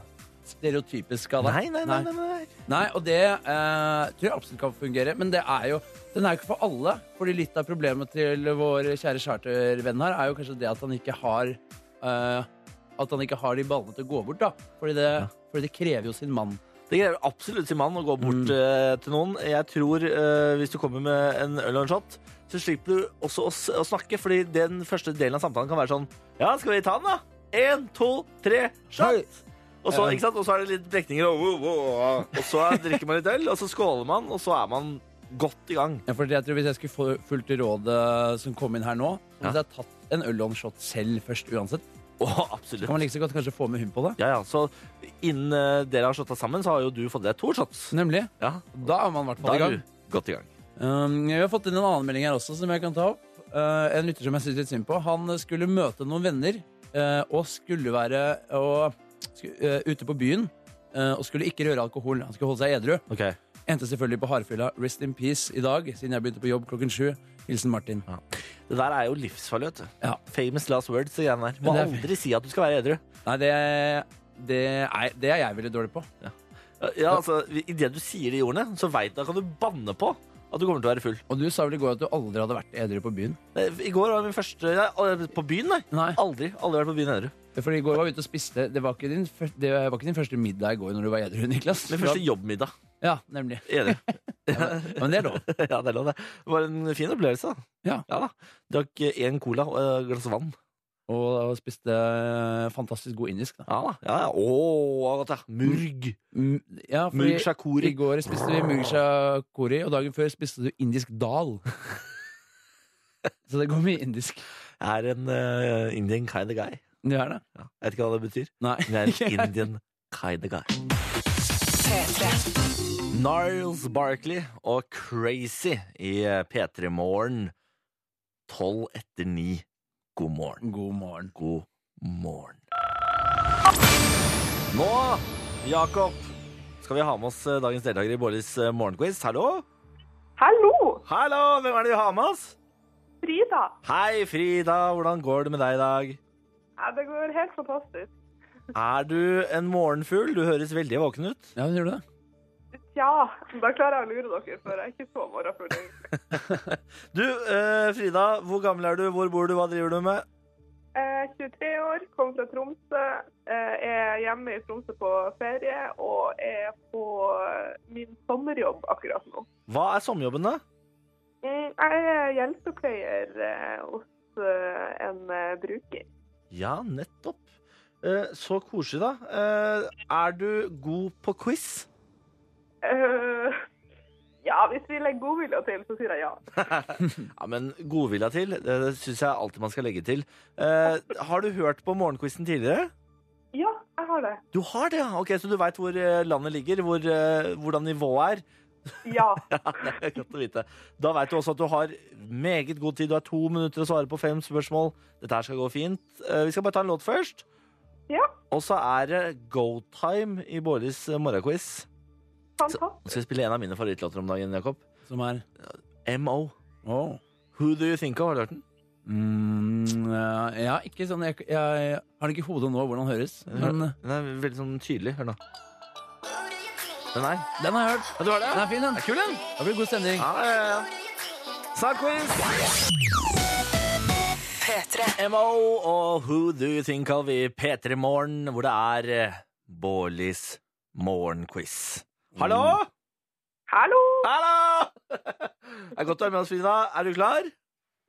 stereotypisk av deg. Nei, nei, nei. nei, nei. Nei, og det eh, tror jeg absolutt kan fungere, men det er jo den er jo ikke for alle. Fordi litt av problemet til vår kjære chartervenn her er jo kanskje det at han ikke har eh, At han ikke har de ballene til å gå bort, da. Fordi det, fordi det krever jo sin mann. Det krever absolutt sin mann å gå bort Mm. eh, til noen. Jeg tror eh, hvis du kommer med en øl og en shot, så slipper du også å, s- å snakke, fordi den første delen av samtalen kan være sånn Ja, skal vi ta den, da? Én, to, tre, Hei. shot! Og så, Ja. ikke sant? og så er det litt brekninger, og, og, og, og så drikker man litt øl, og så skåler man, og så er man godt i gang. Ja, for jeg tror Hvis jeg skulle få fulgt rådet som kom inn her nå, Ja. så hvis jeg hadde tatt en øl og en shot selv først uansett, Åh, absolutt. så kan man like så godt kanskje få med hun på det. Ja, ja, så innen eh, dere har shotta sammen, så har jo du fått deg to shots. Nemlig. Ja, Da er man i hvert da fall i er gang. du godt i gang. Um, vi har fått inn en annen melding her også, som jeg kan ta opp. Uh, en lytter som jeg synes litt synd på. Han skulle møte noen venner uh, og skulle være og, sku- uh, ute på byen uh, og skulle ikke røre alkohol. Han skulle holde seg edru. Ok. Endte selvfølgelig på hardfylla. Rest in peace i dag, siden jeg begynte på jobb klokken sju. Hilsen Martin. Det der er jo livsfarlig, vet du. Ja. Famous last words, det greiene der. Må Men det er- aldri si at du skal være edru. Nei, det, det, er, det er jeg veldig dårlig på. Ja, altså, Idet du sier de ordene, så veit du da kan du banne på at du kommer til å være full. Og du sa vel i går at du aldri hadde vært edru på byen? Eh, I går var min første ja, På byen, nei. Nei. Aldri. Aldri vært på byen edru. For i går var vi ute og spiste. Det var ikke din, fyr- det var ikke din første middag i går når du var edru, Niklas. Min første jobbmiddag. Ja, nemlig. Edru. Men det er lov. ja, det er lov, det. Det var en fin opplevelse, da. Ja. da. Drakk én cola og et glass vann. Og spiste eh, fantastisk god indisk. Da. Ja da. Ja, ja. Åh, hva godt, ja. Murg. Mm, Ja, for Murg i, i shakuri. går spiste vi mugsha kori, og dagen før spiste du indisk dal. Så det går mye indisk. Er en eh, Indian kind of guy. Det er det. Ja. Jeg vet ikke hva det betyr. Nei. Men jeg er en Indian kind of guy. Niles Barkley og Crazy i P3 Morgen. Tolv etter ni. God morgen. God morgen. God morgen. Nå, Jakob, skal vi ha med oss eh, dagens deltaker i Bårdis eh, morgenquiz. Hallo? Hallo! Hallo, hvem er det vi har med oss? Frida! Hei, Frida. Hvordan går det med deg i dag? Ja, det går helt fantastisk. Er du en morgenfugl? Du høres veldig våken ut. Ja, gjør du det? Tja, da klarer jeg å lure dere, for jeg er ikke så morgenfull. egentlig. Du, eh, Frida, hvor gammel er du? Hvor bor du? Hva driver du med? Jeg er 23 år, kommer fra Tromsø, eh, er hjemme i Tromsø på ferie og er på eh, min sommerjobb akkurat nå. Hva er sommerjobben, da? Mm, Jeg er hjelpepleier eh, hos eh, en eh, bruker. Ja, nettopp. Eh, så koselig, da. Eh, er du god på quiz? Eh, Ja, hvis vi legger godvilja til, så sier jeg ja. Ja, men godvilja til, det, det syns jeg alltid man skal legge til. Eh, har du hørt på morgenquizen tidligere? Ja, jeg har det. Du har det, ja. Ok, Så du veit hvor eh, landet ligger, hvor, eh, hvordan nivået er? Ja. Ja, det er godt å vite. Da veit du også at du har meget god tid. Du har to minutter å svare på fem spørsmål. Dette her skal gå fint. Eh, vi skal bare ta en låt først. Ja, Og så er det go time i Bårdis eh, morgenquiz. fantastisk. Nå skal jeg spille en av mine favorittlåter om dagen, Jakob. Som er MO. oh. Who do you think of? Har du hørt den? mm, eh, Ja, ikke sånn jeg, jeg har det ikke i hodet nå hvordan den høres, men eh, Den er veldig sånn tydelig. Hør nå. Den her. den har jeg hørt. Ja, du har det? Den er fin, den. Er kul, den. Det blir god stemning. Ja, ja, ja. Snart quiz! MO og Who Do You Think Of i P3 Morgen, hvor det er eh, Bårlis morgenquiz. Hallo? Hallo! Hallo! Det er godt å være med oss, Frida. Er du klar?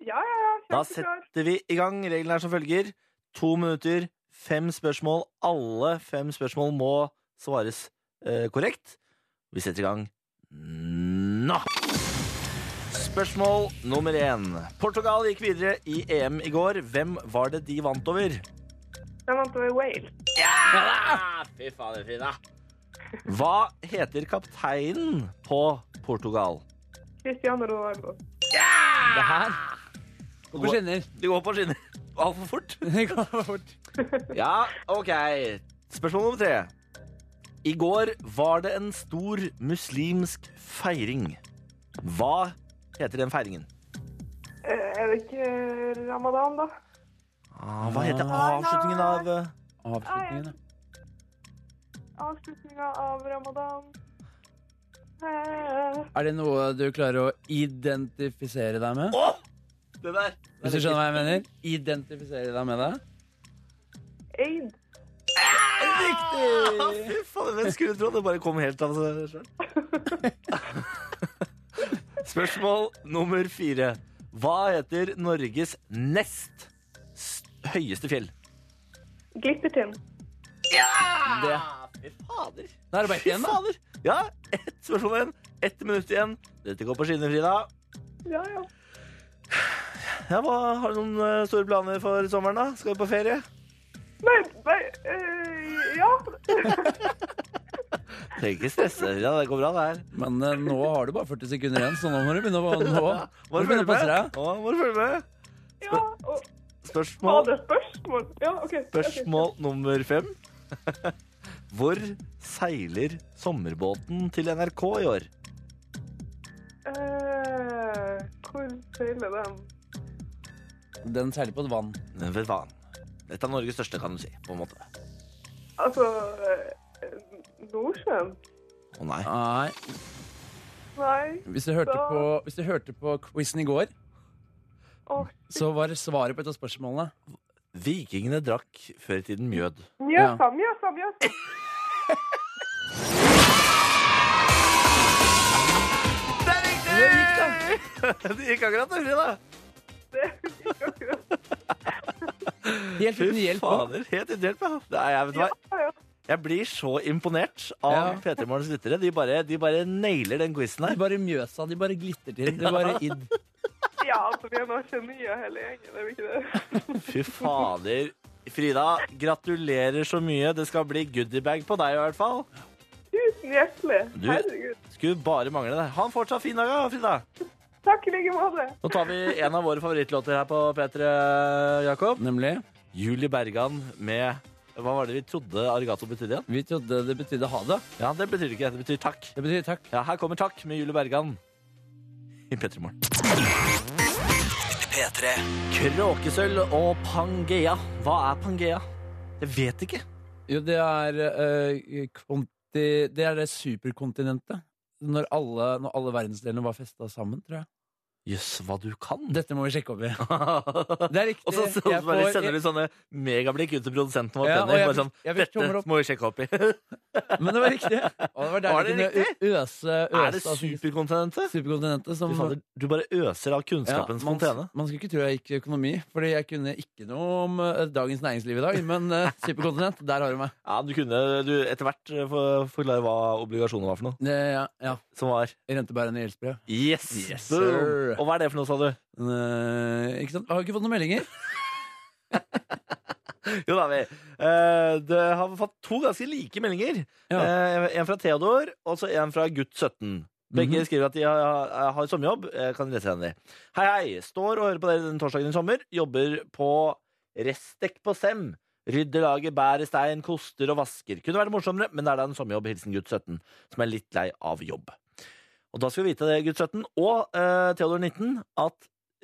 Ja, ja, ja, Da kjempeklar. setter vi i gang. Reglene er som følger. To minutter, fem spørsmål. Alle fem spørsmål må svares eh, korrekt. Vi setter i gang nå! Spørsmål nummer én. Portugal gikk videre i EM i går. Hvem var det de vant over? Den vant over Wales. Fy fader, Frida. Hva heter kapteinen på Portugal? Cristiano Ronaldo. Det her går på skinner. Det går på skinner altfor fort. Det går fort. Ja, ok. Spørsmål nummer tre. I går var det en stor muslimsk feiring. Hva heter den feiringen? Eh, Er det ikke ramadan, da? Ah, hva heter avslutningen av eh, Avslutningen, da. Avslutninga av ramadan. Eh, Er det noe du klarer å identifisere deg med? Å! det der! Hvis du skjønner hva jeg mener? Identifisere deg med det? Eid. Riktig! Ah, Fy faen, hvem skulle tro det bare kom helt av seg sjøl? Spørsmål nummer fire. Hva heter Norges nest s- høyeste fjell? Glippertind. det. Ah, Fy fader. Da er det bare Fy én, da. fader! Ja, ett spørsmål igjen. Ett minutt igjen. Dette går på skinner, Frida. Ja, ja. Ja, hva, har du noen eh, store planer for sommeren, da? Skal du på ferie? Nei, nei eh, Ja. Trenger ikke stresse. Ja, det går bra, det her. Men eh, nå har du bare 40 sekunder igjen, så nå må du begynne å, nå, må du begynne å passe deg. Nå må du følge med. Ja, og var Spørsmål, det spørsmål? Ja, OK. spørsmål nummer fem. Hvor seiler sommerbåten til NRK i år? Eh, hvor feiler den? Den seiler på et vann. Men Vet faen. Dette er Norges største, kan du si. på en måte. Altså eh, Nordsjøen? Å nei. Nei, Nei. hvis du hørte på, hvis du hørte på quizen i går, Åh, så var svaret på et av spørsmålene Vikingene drakk før i tiden mjød. Mjøsa, Mjøsa, Mjøsa. Det gikk, da! Det gikk akkurat dårlig, da. Det gikk akkurat. Helt Fy uten hjelp. også. fader. Helt uten hjelp, ja. Det er, jeg, vet du hva? Ja, ja. jeg blir så imponert av Ja. P3 Morgens lyttere. De bare, de bare nailer den quizen De her. bare mjøsa, de bare glitter til. De bare id. ja, altså, vi er nå genier hele gjengen, er vi ikke det? Fy fader. Frida, gratulerer så mye. Det skal bli goodiebag på deg i hvert fall. Tusen hjertelig. Du- Herregud. Skulle bare mangle det. Ha en fortsatt fin dag, da, Frida. Takk i like måte. Nå tar vi en av våre favorittlåter her på P3, Jakob. Nemlig. Julie Bergan med Hva var det vi trodde arigato betydde igjen? Vi trodde det betydde ha det. Ja, det betyr det ikke. Det betyr takk. Det betyr takk. Ja, her kommer takk med Julie Bergan i P3 Morgen. P3 Kråkesølv og Pangea. Hva er Pangea? Jeg vet ikke. Jo, det er eh, konti, Det er det superkontinentet. Når alle, når alle verdensdelene var festa sammen, tror jeg. Jøss, hva du kan. Dette må vi sjekke opp i. og Det er riktig. så, så Jeg bare får- sender du sånne megablikk ut til produsenten vår. Ja, og Benny, jeg bare fikk- sånn, jeg fikk tommel Dette opp. må vi sjekke opp i. Men det var riktig. Og det var der Var det vi kunne riktig? ø- Øse, øse Er det av sin- superkontinentet? superkontinentet som Fy fader, Du bare øser av Ja, kunnskapens man, fontene. man skulle ikke tro jeg gikk økonomi, Fordi jeg kunne ikke noe om eh, dagens næringsliv i dag. Men eh, superkontinent, der har du meg. Ja, du kunne du, etter hvert eh, få- forklare hva obligasjoner var for noe. Det, ja, ja. Som var Rentebærende gjeldsbrev. Yes! Yes, Boom! sir. Og hva er det for noe, sa du? Eh, ikke sant? Jeg har ikke fått noen meldinger. Jo da, vi. Eh, det har fått to ganske like meldinger. Ja. Eh, en fra Theodor, og så en fra gutt 17. Begge Mhm. skriver at de har, har sommerjobb. Jeg kan lese henne. Hei, hei. Står og hører på dere den torsdagen i sommer. Jobber på Restek på Sem. Rydder laget, bærer stein, koster og vasker. Kunne vært morsommere, men det er da en sommerjobb. Hilsen gutt 17, som er litt lei av jobb. Og da skal vi vite det, gutt 17, og eh, Theodor 19, at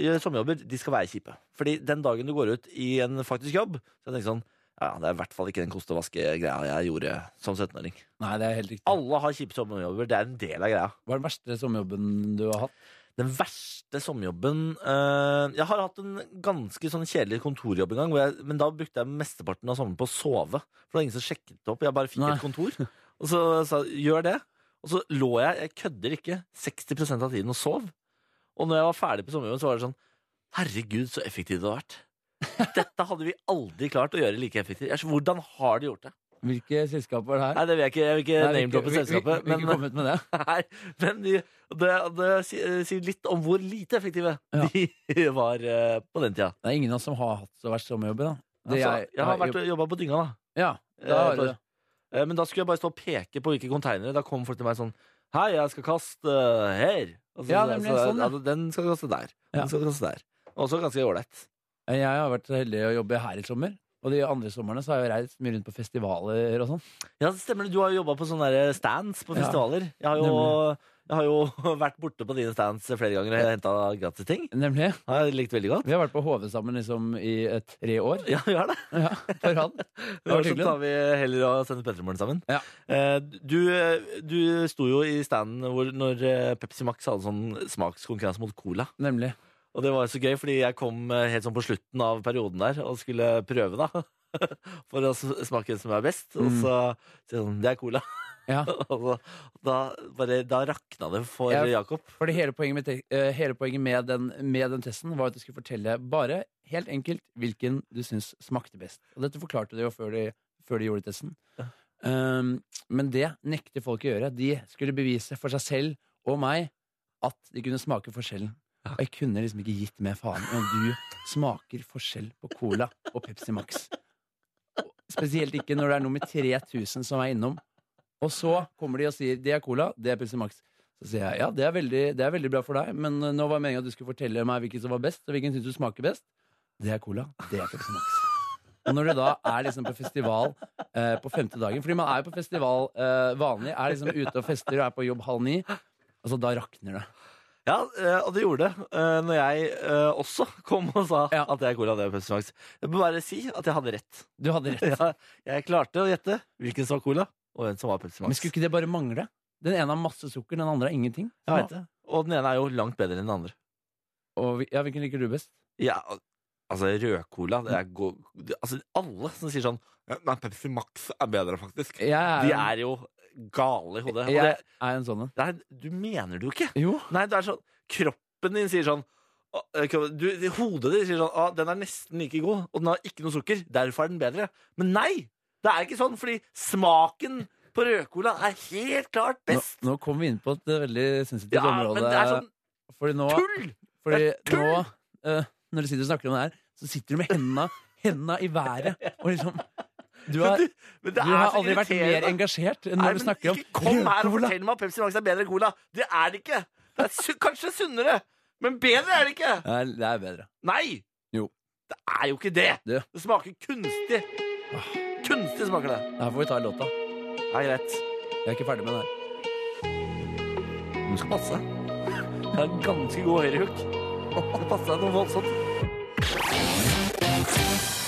eh, sommerjobber de skal være kjipe. Fordi den dagen du går ut i en faktisk jobb, så tenker jeg sånn ja, det er i hvert fall ikke den koste og vaske-greia jeg gjorde som 17-åring. Nei, det er helt riktig. Alle har kjipe sommerjobber. Det er en del av greia. Hva er den verste sommerjobben du har hatt? Den verste sommerjobben eh, Jeg har hatt en ganske sånn kjedelig kontorjobb en gang, hvor jeg, men da brukte jeg mesteparten av sommeren på å sove. For det var ingen som sjekket det opp. Jeg bare fikk Nei. et kontor. Og så sa jeg, gjør det. Og så lå jeg, jeg kødder ikke, 60 av tiden og sov. Og når jeg var ferdig på sommerjobben, så var det sånn Herregud, så effektivt det har vært. Dette hadde vi aldri klart å gjøre like effektivt. Jeg, hvordan har de gjort det? Hvilke selskap var det her? Nei, det vil jeg ikke, jeg vil ikke Nei, vi- name-droppe vi- vi- selskapet. Vi, vi, Men, eh, vi kom ut med det. nei, men de, det, det si- eh, sier litt om hvor lite effektive Ja. de var eh, på den tida. Det er ingen av oss som har hatt så verst sommerjobb. Da. Altså, Det jeg, har vært jo- og jobba på dynga, da. Ja, Eh, da har du for- det. Eh, Men da skulle jeg bare stå og peke på hvilke konteinere. Da kom folk til meg sånn Hei, jeg skal kaste eh, her. Og Ja, nemlig, sånn, ja. ja, den skal kaste der. Ja. Den skal kaste der. Også ganske ålreit. Eh, Jeg har vært så heldig å jobbe her i sommer. Og de andre somrene så har jeg reist mye rundt på festivaler og sånn. Ja, det stemmer det. Du har jo jobba på sånne der eh, stands på Ja, festivaler. Jeg har jo, jeg har jo vært borte på dine stands flere ganger og henta gratis ting. Nemlig. Det har jeg likt veldig godt. Vi har vært på HV sammen liksom i eh, tre år Ja, vi har det. ja, på rad. Det var så hyggelig, da. tar vi heller og sender Pettermoren sammen. Ja. Eh, Du, du sto jo i standen hvor, når eh, Pepsi Max hadde sånn smakskonkurranse mot Cola. Nemlig. Og det var jo så gøy, fordi jeg kom eh, helt sånn på slutten av perioden der og skulle prøve, da. For å s- smake den som er best. Og Mm. så sier jeg sånn Det er cola. Ja. Og så- da, bare, da rakna det for Ja. Jakob. Fordi hele poenget, med, te eh, hele poenget med, den, med den testen var at du skulle fortelle bare helt enkelt hvilken du syns smakte best. Og dette forklarte du jo før de, før de gjorde testen. Um, men det nekter folk å gjøre. De skulle bevise for seg selv og meg at de kunne smake forskjellen. Og jeg kunne liksom ikke gitt mer faen i om du smaker forskjell på Cola og Pepsi Max. Spesielt ikke når det er nummer 3000 som er innom, Og så kommer de og sier det er cola, det er Pepsi Max. Så sier jeg ja, det er veldig, det er veldig bra for deg, men eh, nå var meningen at du skulle fortelle meg hvilken som var best, og hvilken syns du smaker best. Det er cola, det er Pepsi Max. Og når du da er liksom på festival eh, på femte dagen Fordi man er jo på festival eh, vanlig, er liksom ute og fester og er på jobb halv ni. Altså, da rakner det. Ja, eh, og det gjorde det eh, når jeg eh, også kom og sa at jeg er cola, det er Pepsi Max. Jeg må bare si at jeg hadde rett. Du hadde rett. Ja, jeg klarte å gjette hvilken som var cola, og hvem som var Pepsi Men Max. skulle ikke det bare mangle? Den ene har masse sukker, den andre har ingenting. Jeg vet det. Og den ene er jo langt bedre enn den andre. Og, vi- ja, Hvilken liker du best? Ja, al- altså rødcola det er go det- Altså alle som sier sånn «Ja, Nei, Pepsi Max er bedre, faktisk. Jeg er De en- er jo gale i hodet. Og Jeg det, er en sånn en. Nei, du mener det jo ikke. Jo. Nei, det er sånn Kroppen din sier sånn «Å, eh, kroppen- du, det- Hodet ditt sier sånn ah, Den er nesten like god, og den har ikke noe sukker. Derfor er den bedre. Men nei! Det er ikke sånn, fordi smaken på rødcola er helt klart Nå, best. nå kom vi inn på et eh, veldig sensitivt Ja, område. men det er sånn fordi nå, tull! Fordi Det er tull! nå, eh, når du sitter og snakker om det her, så sitter du med hendene, hendene i været og liksom Du har, Men du det er har så aldri vært mer irriterende. engasjert enn Nei, når du men snakker om ikke Kom her og rødcola. fortell meg at Pepsi Max er bedre enn cola. Det er det ikke. Det er su kanskje sunnere, men bedre er det ikke. Nei, Det er bedre. Nei! Jo. Det er jo ikke det. Det. Ah. Det smaker kunstig. Kunstig smaker det. Her får vi ta låta. Det er greit. Jeg er ikke ferdig med den her. Du skal passe deg. Det er en ganske god høyrehook. Du passer deg noe voldsomt.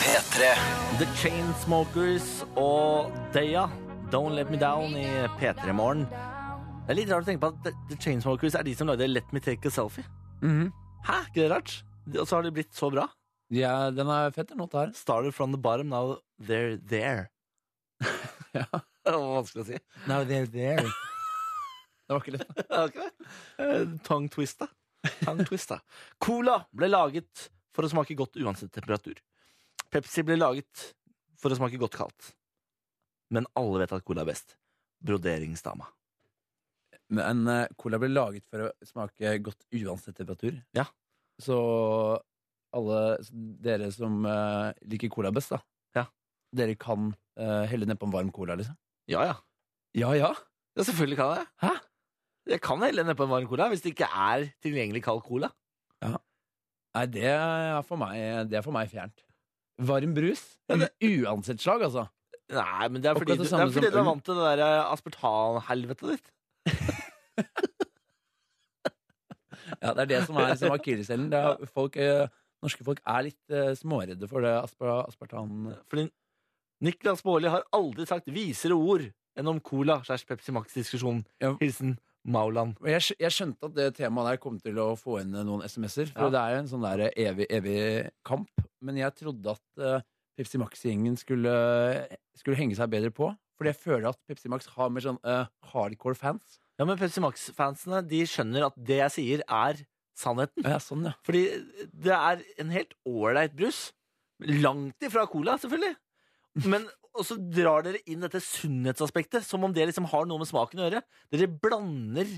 P3 The Chainsmokers og Deya, Don't Let Me Down i P3 Morgen. Det er litt rart å tenke på at The- The Chainsmokers er de som lagde Let Me Take a Selfie. Mhm. Hæ, ikke det rart? De- Og så har de blitt så bra. ja, den er fett, den låta her. Started from the bottom, now they're there. Ja. Det var vanskelig å si. Now they're there. Det var ikke lett. da. Er det ikke det? Eh, Tongue twista. Tongue twista. Cola ble laget for å smake godt uansett temperatur. Pepsi ble laget for å smake godt kaldt. Men alle vet at cola er best. Broderingsdama. Men eh, cola ble laget for å smake godt uansett temperatur. Ja. Så alle så dere som eh, liker cola best, da. Ja. Dere kan eh, helle nedpå en varm cola, liksom. Ja, ja. Ja ja. Ja, selvfølgelig kan jeg. Hæ? Jeg kan helle nedpå en varm cola hvis det ikke er tilgjengelig kald cola. Nei, det er for meg, det er for meg fjernt. Varm brus? U- Uansett slag, altså. Nei, men det er fordi, Akkurat du, det det samme er, fordi som du er øl. vant til det der eh, aspartanhelvetet ditt. Ja, Det er det som er liksom, akilleshælen. Det er folk, eh, Norske folk er litt eh, småredde for det aspar aspartan... Fordi Niklas Baarli har aldri sagt visere ord enn om cola slash Pepsi Max-diskusjonen. Ja. Hilsen Mauland. Men Jeg, skj- jeg skjønte at det temaet der kom til å få inn eh, noen SMS-er. For Ja. det er jo en sånn der evig, evig kamp. Men jeg trodde at eh, Pepsi Max-gjengen skulle, skulle henge seg bedre på. Fordi jeg føler at Pepsi Max har mer sånn eh, hardcore fans. Ja, men Pepsi Max-fansene de skjønner at det jeg sier, er sannheten. Ja, sånn, ja. Fordi det er en helt ålreit brus. Langt ifra cola, selvfølgelig. Men og så drar dere inn dette sunnhetsaspektet, som om det liksom har noe med smaken å gjøre. Dere blander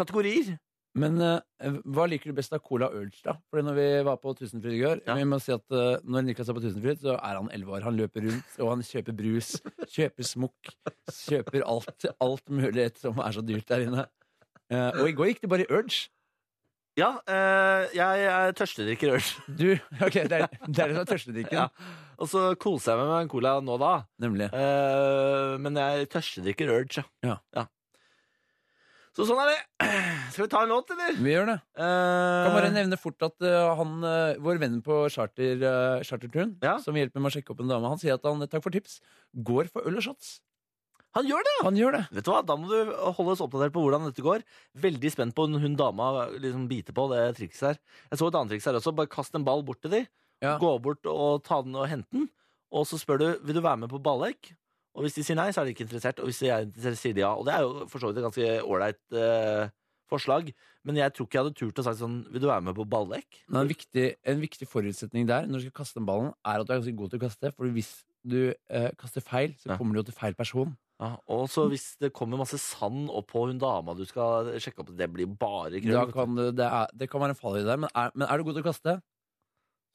kategorier. Men eh, hva liker du best av Cola Urge, da? Fordi når vi var på Tusenfryd i går Ja. Vi må si at eh, når Niklas er på Tusenfryd, så er han 11 år. Han løper rundt, og han kjøper brus, kjøper smokk, kjøper alt, alt mulig som er så dyrt der inne. Eh, og i går gikk det bare i Urge. Ja, eh, jeg er tørstedrikker øl. Du, ok, det er det er det som er tørstedrikken. Ja. Og så koser jeg meg med en cola nå da. Nemlig. Eh, men jeg tørstedrikker Urge. Ja. Så sånn er det. Skal vi ta en låt, eller? Eh, Vi gjør det. Kan bare nevne fort at eh, han, eh, vår venn på charter, eh, charterturen, Ja. som hjelper meg å sjekke opp en dame, han sier at han, eh, takk for tips, går for øl og shots. Han gjør det! Han gjør det. Vet du hva, Da må du holde oss oppdatert på hvordan dette går. Veldig spent på om hun dama liksom biter på det trikset her. Jeg så et annet triks her også. Bare kast en ball bort til de. Ja. Gå bort og ta den og hente den. Og så spør du vil du være med på ballek. Og hvis de sier nei, så er de ikke interessert. Og hvis de er interessert, sier de ja. Og det er jo for så vidt et ganske ålreit eh, forslag. Men jeg tror ikke jeg hadde turt å sagt sånn Vil du være med på ballek? Men en, viktig, en viktig forutsetning der når du skal kaste den ballen, er at du er ganske god til å kaste. For hvis du eh, kaster feil, så Ja. kommer du jo til feil person. Ja, og så hvis det kommer masse sand oppå hun dama du skal sjekke opp, det blir bare krøll. Da kan du, det, er, det kan være en fallhøyde der, men er, men er du god til å kaste,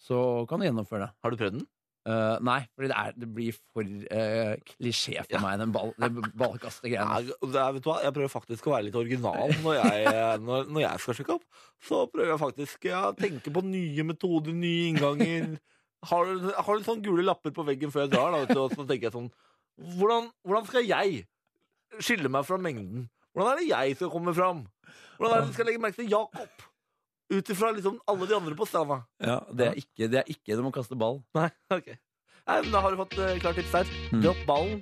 så kan du gjennomføre det. Har du prøvd den? Eh, nei, fordi det, er, det blir for eh, klisjé for meg, den ball, det ballkastegreiene. Nei, det er, vet du hva? Jeg prøver faktisk å være litt original når jeg, når, når jeg skal sjekke opp. Så prøver jeg faktisk ja, tenke på nye metoder, nye innganger. Har, har litt sånn gule lapper på veggen før jeg drar, da, vet du, og så tenker jeg sånn hvordan, hvordan skal jeg skille meg fra mengden? Hvordan er det jeg skal komme fram? Hvordan er det de skal legge merke til Jakob? Ut ifra liksom alle de andre på stranda. Ja, det er ikke det er ikke det med å kaste ball. Nei, ok Nei, men Da har du fått eh, klart tips der. Mm. Dropp ballen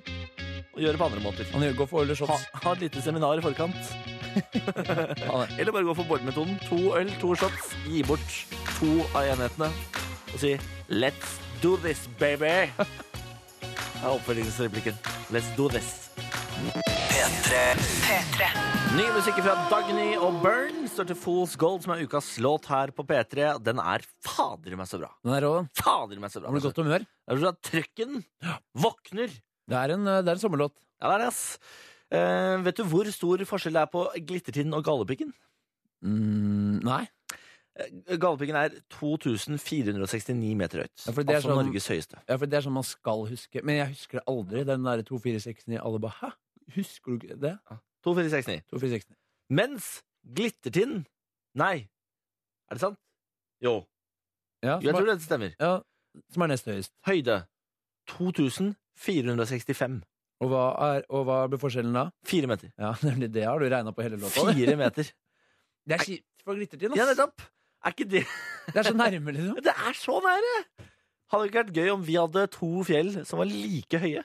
og gjør det på andre måter. Han gjør- går for øl og Ha, shots. ha et lite seminar i forkant. Ha det. Eller bare gå for bordmetoden. To øl, to shots. Gi bort to av enhetene og si 'Let's do this, baby'. Det er oppfølgingsreplikken. Let's do this. Ny musikk fra Dagny og Byrne står til Fools Gold, som er ukas låt her på P3. Den er fader meg så bra. Den er rå, den. Fader meg så bra. Har du godt humør? Jeg tror sånn at trøkken våkner. Det er en, eh, det er en sommerlåt. Ja, det er det, ass. Eh, vet du hvor stor forskjell det er på glittertinnen og gallepikken? Mm, nei. Eh, Gallepikken er 2469 meter høyt. Ja, for det er altså sånn- Norges høyeste. Ja, for det er sånn man skal huske. Men jeg husker det aldri, den derre 2469. Alle bare 'hæ? Husker du ikke det?' 2469. 2469. Mens glittertinnen Nei. Er det sant? Jo. Ja, Jeg som, tror er, det stemmer. ja, som er nest høyest. Høyde 2465. Og hva, er, og hva blir forskjellen da? Fire meter. Ja, nemlig det har du regna på hele låta. det. Fire meter. Det er kjipt for glittertid, Ja, ass. nettopp. Er ikke det Det er så nærme, liksom. Det er så nære! Hadde det ikke vært gøy om vi hadde to fjell som var like høye?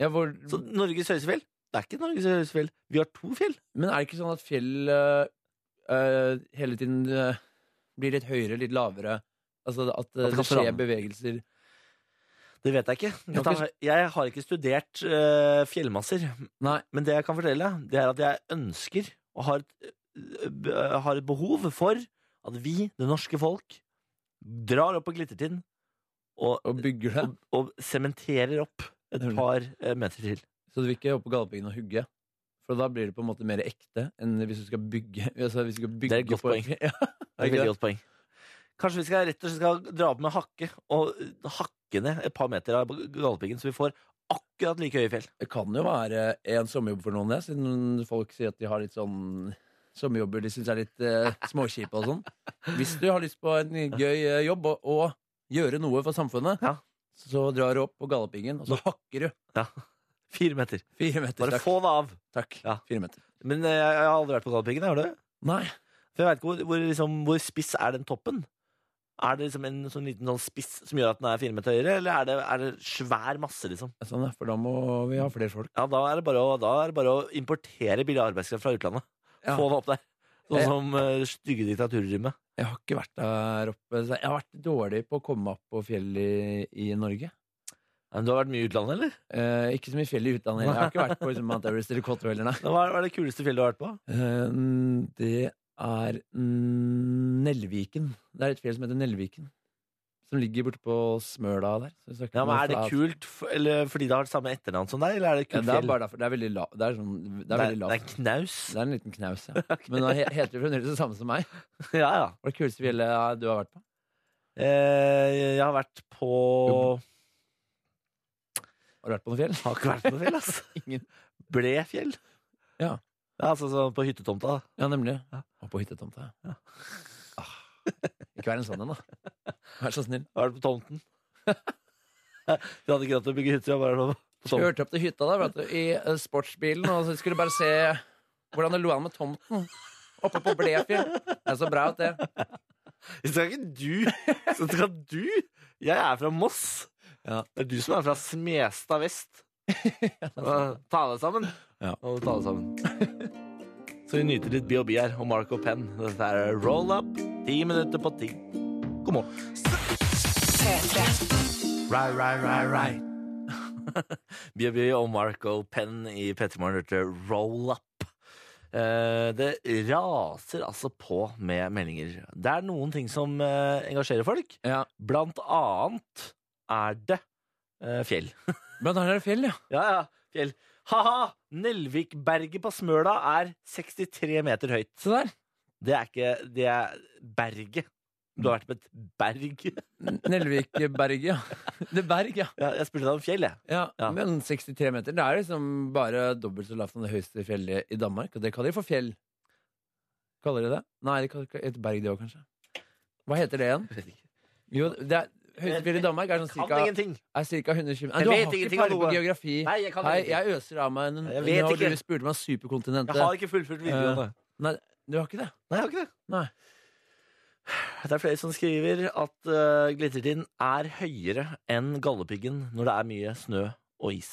Ja, hvor, Så Norges høyeste fjell? Det er ikke Norges høyeste fjell. Vi har to fjell. men er det ikke sånn at fjell øh, øh, hele tiden øh, blir litt høyere, litt lavere? Altså at, øh, At det det kan skjer forandre. bevegelser Det vet jeg ikke. har Dette, har- jeg har ikke studert eh, fjellmasser. Nei. Men det jeg kan fortelle, det er at jeg ønsker og har et, eh, be- eh, har et behov for at vi, det norske folk, drar opp på Glittertind og, og bygger det? og, og sementerer opp et Nemlig. par eh, meter til. Så du vil ikke opp på Galdhøpiggen og hugge? For da blir det på en måte mer ekte enn hvis du skal bygge. Altså hvis du skal bygge et godt på- poeng. Ja, Det er et ikke veldig godt poeng. Kanskje vi skal rett og slett skal dra opp med hakke og eh, hakke ned et par meter av Galdhøpiggen, så vi får akkurat like høye fjell. Det kan jo være en sommerjobb for noen, det, siden folk sier at de har litt sånn sommerjobber de syns er litt eh, småkjipe og sånn. Hvis du har lyst på en gøy eh, jobb og, og gjøre noe for samfunnet, Ja. så drar du opp på gallopingen, og så hakker du. Fire meter. Fire meter. Bare Takk. få det av. takk. Ja. Fire meter. Men eh, jeg har aldri vært på Galdhøpiggen, har du? Nei. For jeg vet ikke hvor, hvor, liksom, hvor spiss er den toppen? Er det liksom en sånn liten sånn spiss som gjør at den er fire meter høyere, eller er det, er det svær masse, liksom? Sånn, ja, for da må vi ha flere folk. Ja, da er det bare å, da er det bare å importere billig arbeidskraft fra utlandet. Ja. Få det opp der. Sånn Eh. som eh, stygge diktaturer med. Jeg har ikke vært der oppe. så Jeg har vært dårlig på å komme opp på fjell i, i Norge. Men du har vært mye i utlandet, eller? Eh, ikke så mye fjell i utlandet. Jeg har ikke vært på liksom, Mount Everest eller Kotto heller, nei. Hva er, hva er det kuleste fjellet du har vært på? Eh, Det er mm, Nelviken. Det er et fjell som heter Nelviken. Som ligger borte på Smøla der. Så vi snakker Ja, men om Er det flat- kult f eller fordi det har samme etternavn som deg, eller er det Ja, kult det er fjell? bare derfor. Det er veldig lavt. Det er, sånn, det det er er, veldig det er lavt. knaus. Det er en liten knaus, ja. Men da he- heter det fremdeles det samme som meg. Ja, ja. Hva er det kuleste fjellet du har vært på? Eh, jeg har vært på Har du vært på noe fjell? Har ikke vært på noe fjell, ass. Ingen. Blefjell. Ja. ja altså sånn på hyttetomta. da. Ja, nemlig. Og på hyttetomta. Ja. Ah, ikke vær en sånn en, da. Vær så snill. Har vært på tomten. Vi hadde ikke hatt å bygge hytter. Jeg bare lå på tomten. Kjørte opp til hytta der, vet du, i eh, sportsbilen, og så skulle bare se hvordan det lå an med tomten. Oppe på Blefjell. Det er så bra ut, det. Det skal ikke du! Så skal du! Jeg er fra Moss. Ja. Det er du som er fra Smestad vest. Ta deg sammen. Ja. Nå må du ta deg sammen. Så vi nyter litt B&B her, og Marco Penn. Dette er Roll Up. Ti minutter på ti. God morgen. Right, right, right, right. B&B og Marco Penn i P3 Morgen hørte Roll Up. Eh, det raser altså på med meldinger. Det er noen ting som eh, engasjerer folk. Ja. Blant annet er det eh, fjell. Men der er det fjell, ja. Ja, ja, fjell. Ha-ha! Nelvikberget på Smøla er 63 meter høyt. Se der. Det er ikke Det er berget. Du har vært på et berg. Nelvikberget, ja. Det er berg, ja. Ja, jeg spurte deg om fjell, jeg. ja. Ja. Men 63 meter. Det er liksom bare dobbelt så lavt som det høyeste fjellet i Danmark. Og det kaller de for fjell. Kaller de det? Nei, de kaller det et berg, det òg, kanskje. Hva heter det igjen? Jeg vet ikke. Jo, det er, høyeste fjellet i Danmark er sånn Kan cirka ingenting. er cirka 120 Nei, Jeg vet Du har ikke ingenting om peiling på noe. geografi. Nei, jeg kan Nei, ingenting. jeg øser av meg en Jeg vet Når ikke. du spurte meg om superkontinentet Jeg har ikke fullført videregående. Nei, du har ikke det? Nei, jeg har ikke det. Nei. Det er flere som skriver at uh, glittertind er høyere enn Galdhøpiggen når det er mye snø og is.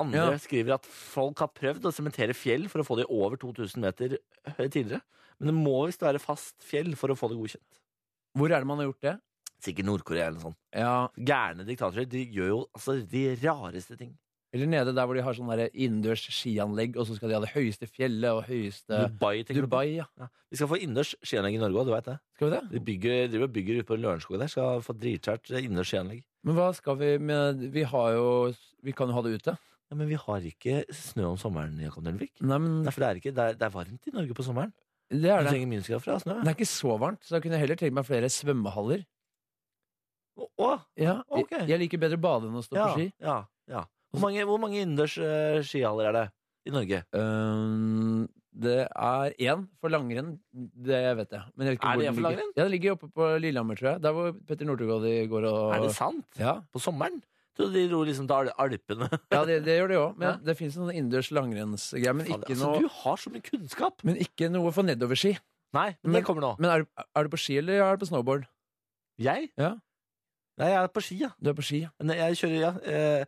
Andre Ja. skriver at folk har prøvd å sementere fjell for å få de over 2000 meter høye tidligere. Men det må visst være fast fjell for å få det godkjent. Hvor er det man har gjort det? Sikkert Nord-Korea eller noe sånt. Ja, Gærne diktatorer de gjør jo altså, de rareste ting. Eller nede der hvor de har sånn der innendørs skianlegg, og så skal de ha det høyeste fjellet og høyeste Dubai, tenker du på? Dubai, ja. Vi skal få innendørs skianlegg i Norge òg, du veit det. Skal vi det? De bygger, driver og bygger ute på Lørenskog der. Skal få dritkjært innendørs skianlegg. Men hva skal vi med Vi har jo Vi kan jo ha det ute. Ja, men vi har ikke snø om sommeren, Jakob Nelvik. Nei, men Nei, for det er, ikke, det, er, det er varmt i Norge på sommeren. det Du er det. trenger minusgrader for å ha snø. Det er ikke så varmt, så da kunne jeg heller tenkt meg flere svømmehaller. Å, å, Ja, jeg- Ok. Jeg liker bedre å bade enn å stå ja, på ski. ja, ja. Hvor mange, hvor mange innendørs eh, skihaller er det i Norge? Øhm, det er én for langrenn, det vet jeg. Men jeg vet ikke Er hvor det en den for ligger. langrenn? Ja, det ligger oppe på Lillehammer, tror jeg. Der hvor Petter Northug går og Er det sant? Ja, På sommeren? Jeg trodde de dro liksom til Al- Alpene. ja det, det gjør det jo. Men Ja. det fins noen innendørs langrennsgreier. Men ikke altså, noe Du har så mye kunnskap! Men ikke noe for nedoverski. Nei, men, det Men- kommer nå. Men er du, er du på ski, eller er du på snowboard? Jeg? Ja. Nei, jeg er på ski, ja. Du er på ski. ja. Men Jeg kjører, ja. eh,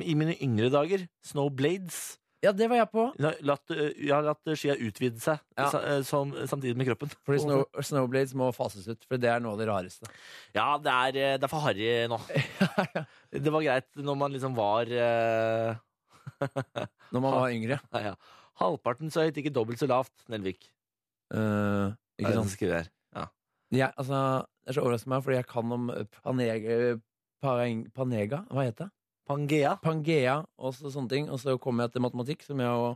I mine yngre dager, snowblades. Ja, det var jeg på. Jeg har latt, eh, jeg har latt skia utvide seg Ja. sa- eh, som, samtidig med kroppen. Fordi snow, snowblades må fases ut, for det er noe av det rareste. Ja, det er, eh, det er for harry nå. Det var greit når man liksom var eh, Når man var yngre. nei, ja. Halvparten så høyt, ikke dobbelt så lavt, Nelvik. Eh, ikke sant? sant? Jeg, altså, det er så overraskende meg, fordi jeg kan om Panega, Pareng, Panega Hva heter det? Pangea. Pangea og så sånne ting. Og så kommer jeg til matematikk, som jeg jo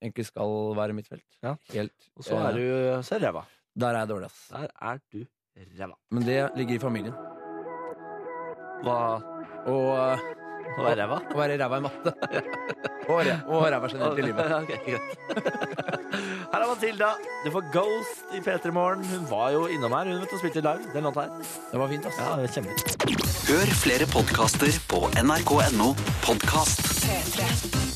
egentlig skal være mitt felt. Ja. Helt, Og så er eh, du så er du ræva. Der er jeg dårlig, ass. Der er du ræva. Men det ligger i familien. Hva, Og eh, hva er ræva? å være ræva i matte. og ræ- og ræva generelt i livet. Ok, greit. Her er Matilda. Du får Ghost i P3 Morgen. Hun var jo innom her. Hun vet å spille live. Den låta her. Det var fint, ass. Ja, kjempe. Hør flere podkaster på nrk.no podkast.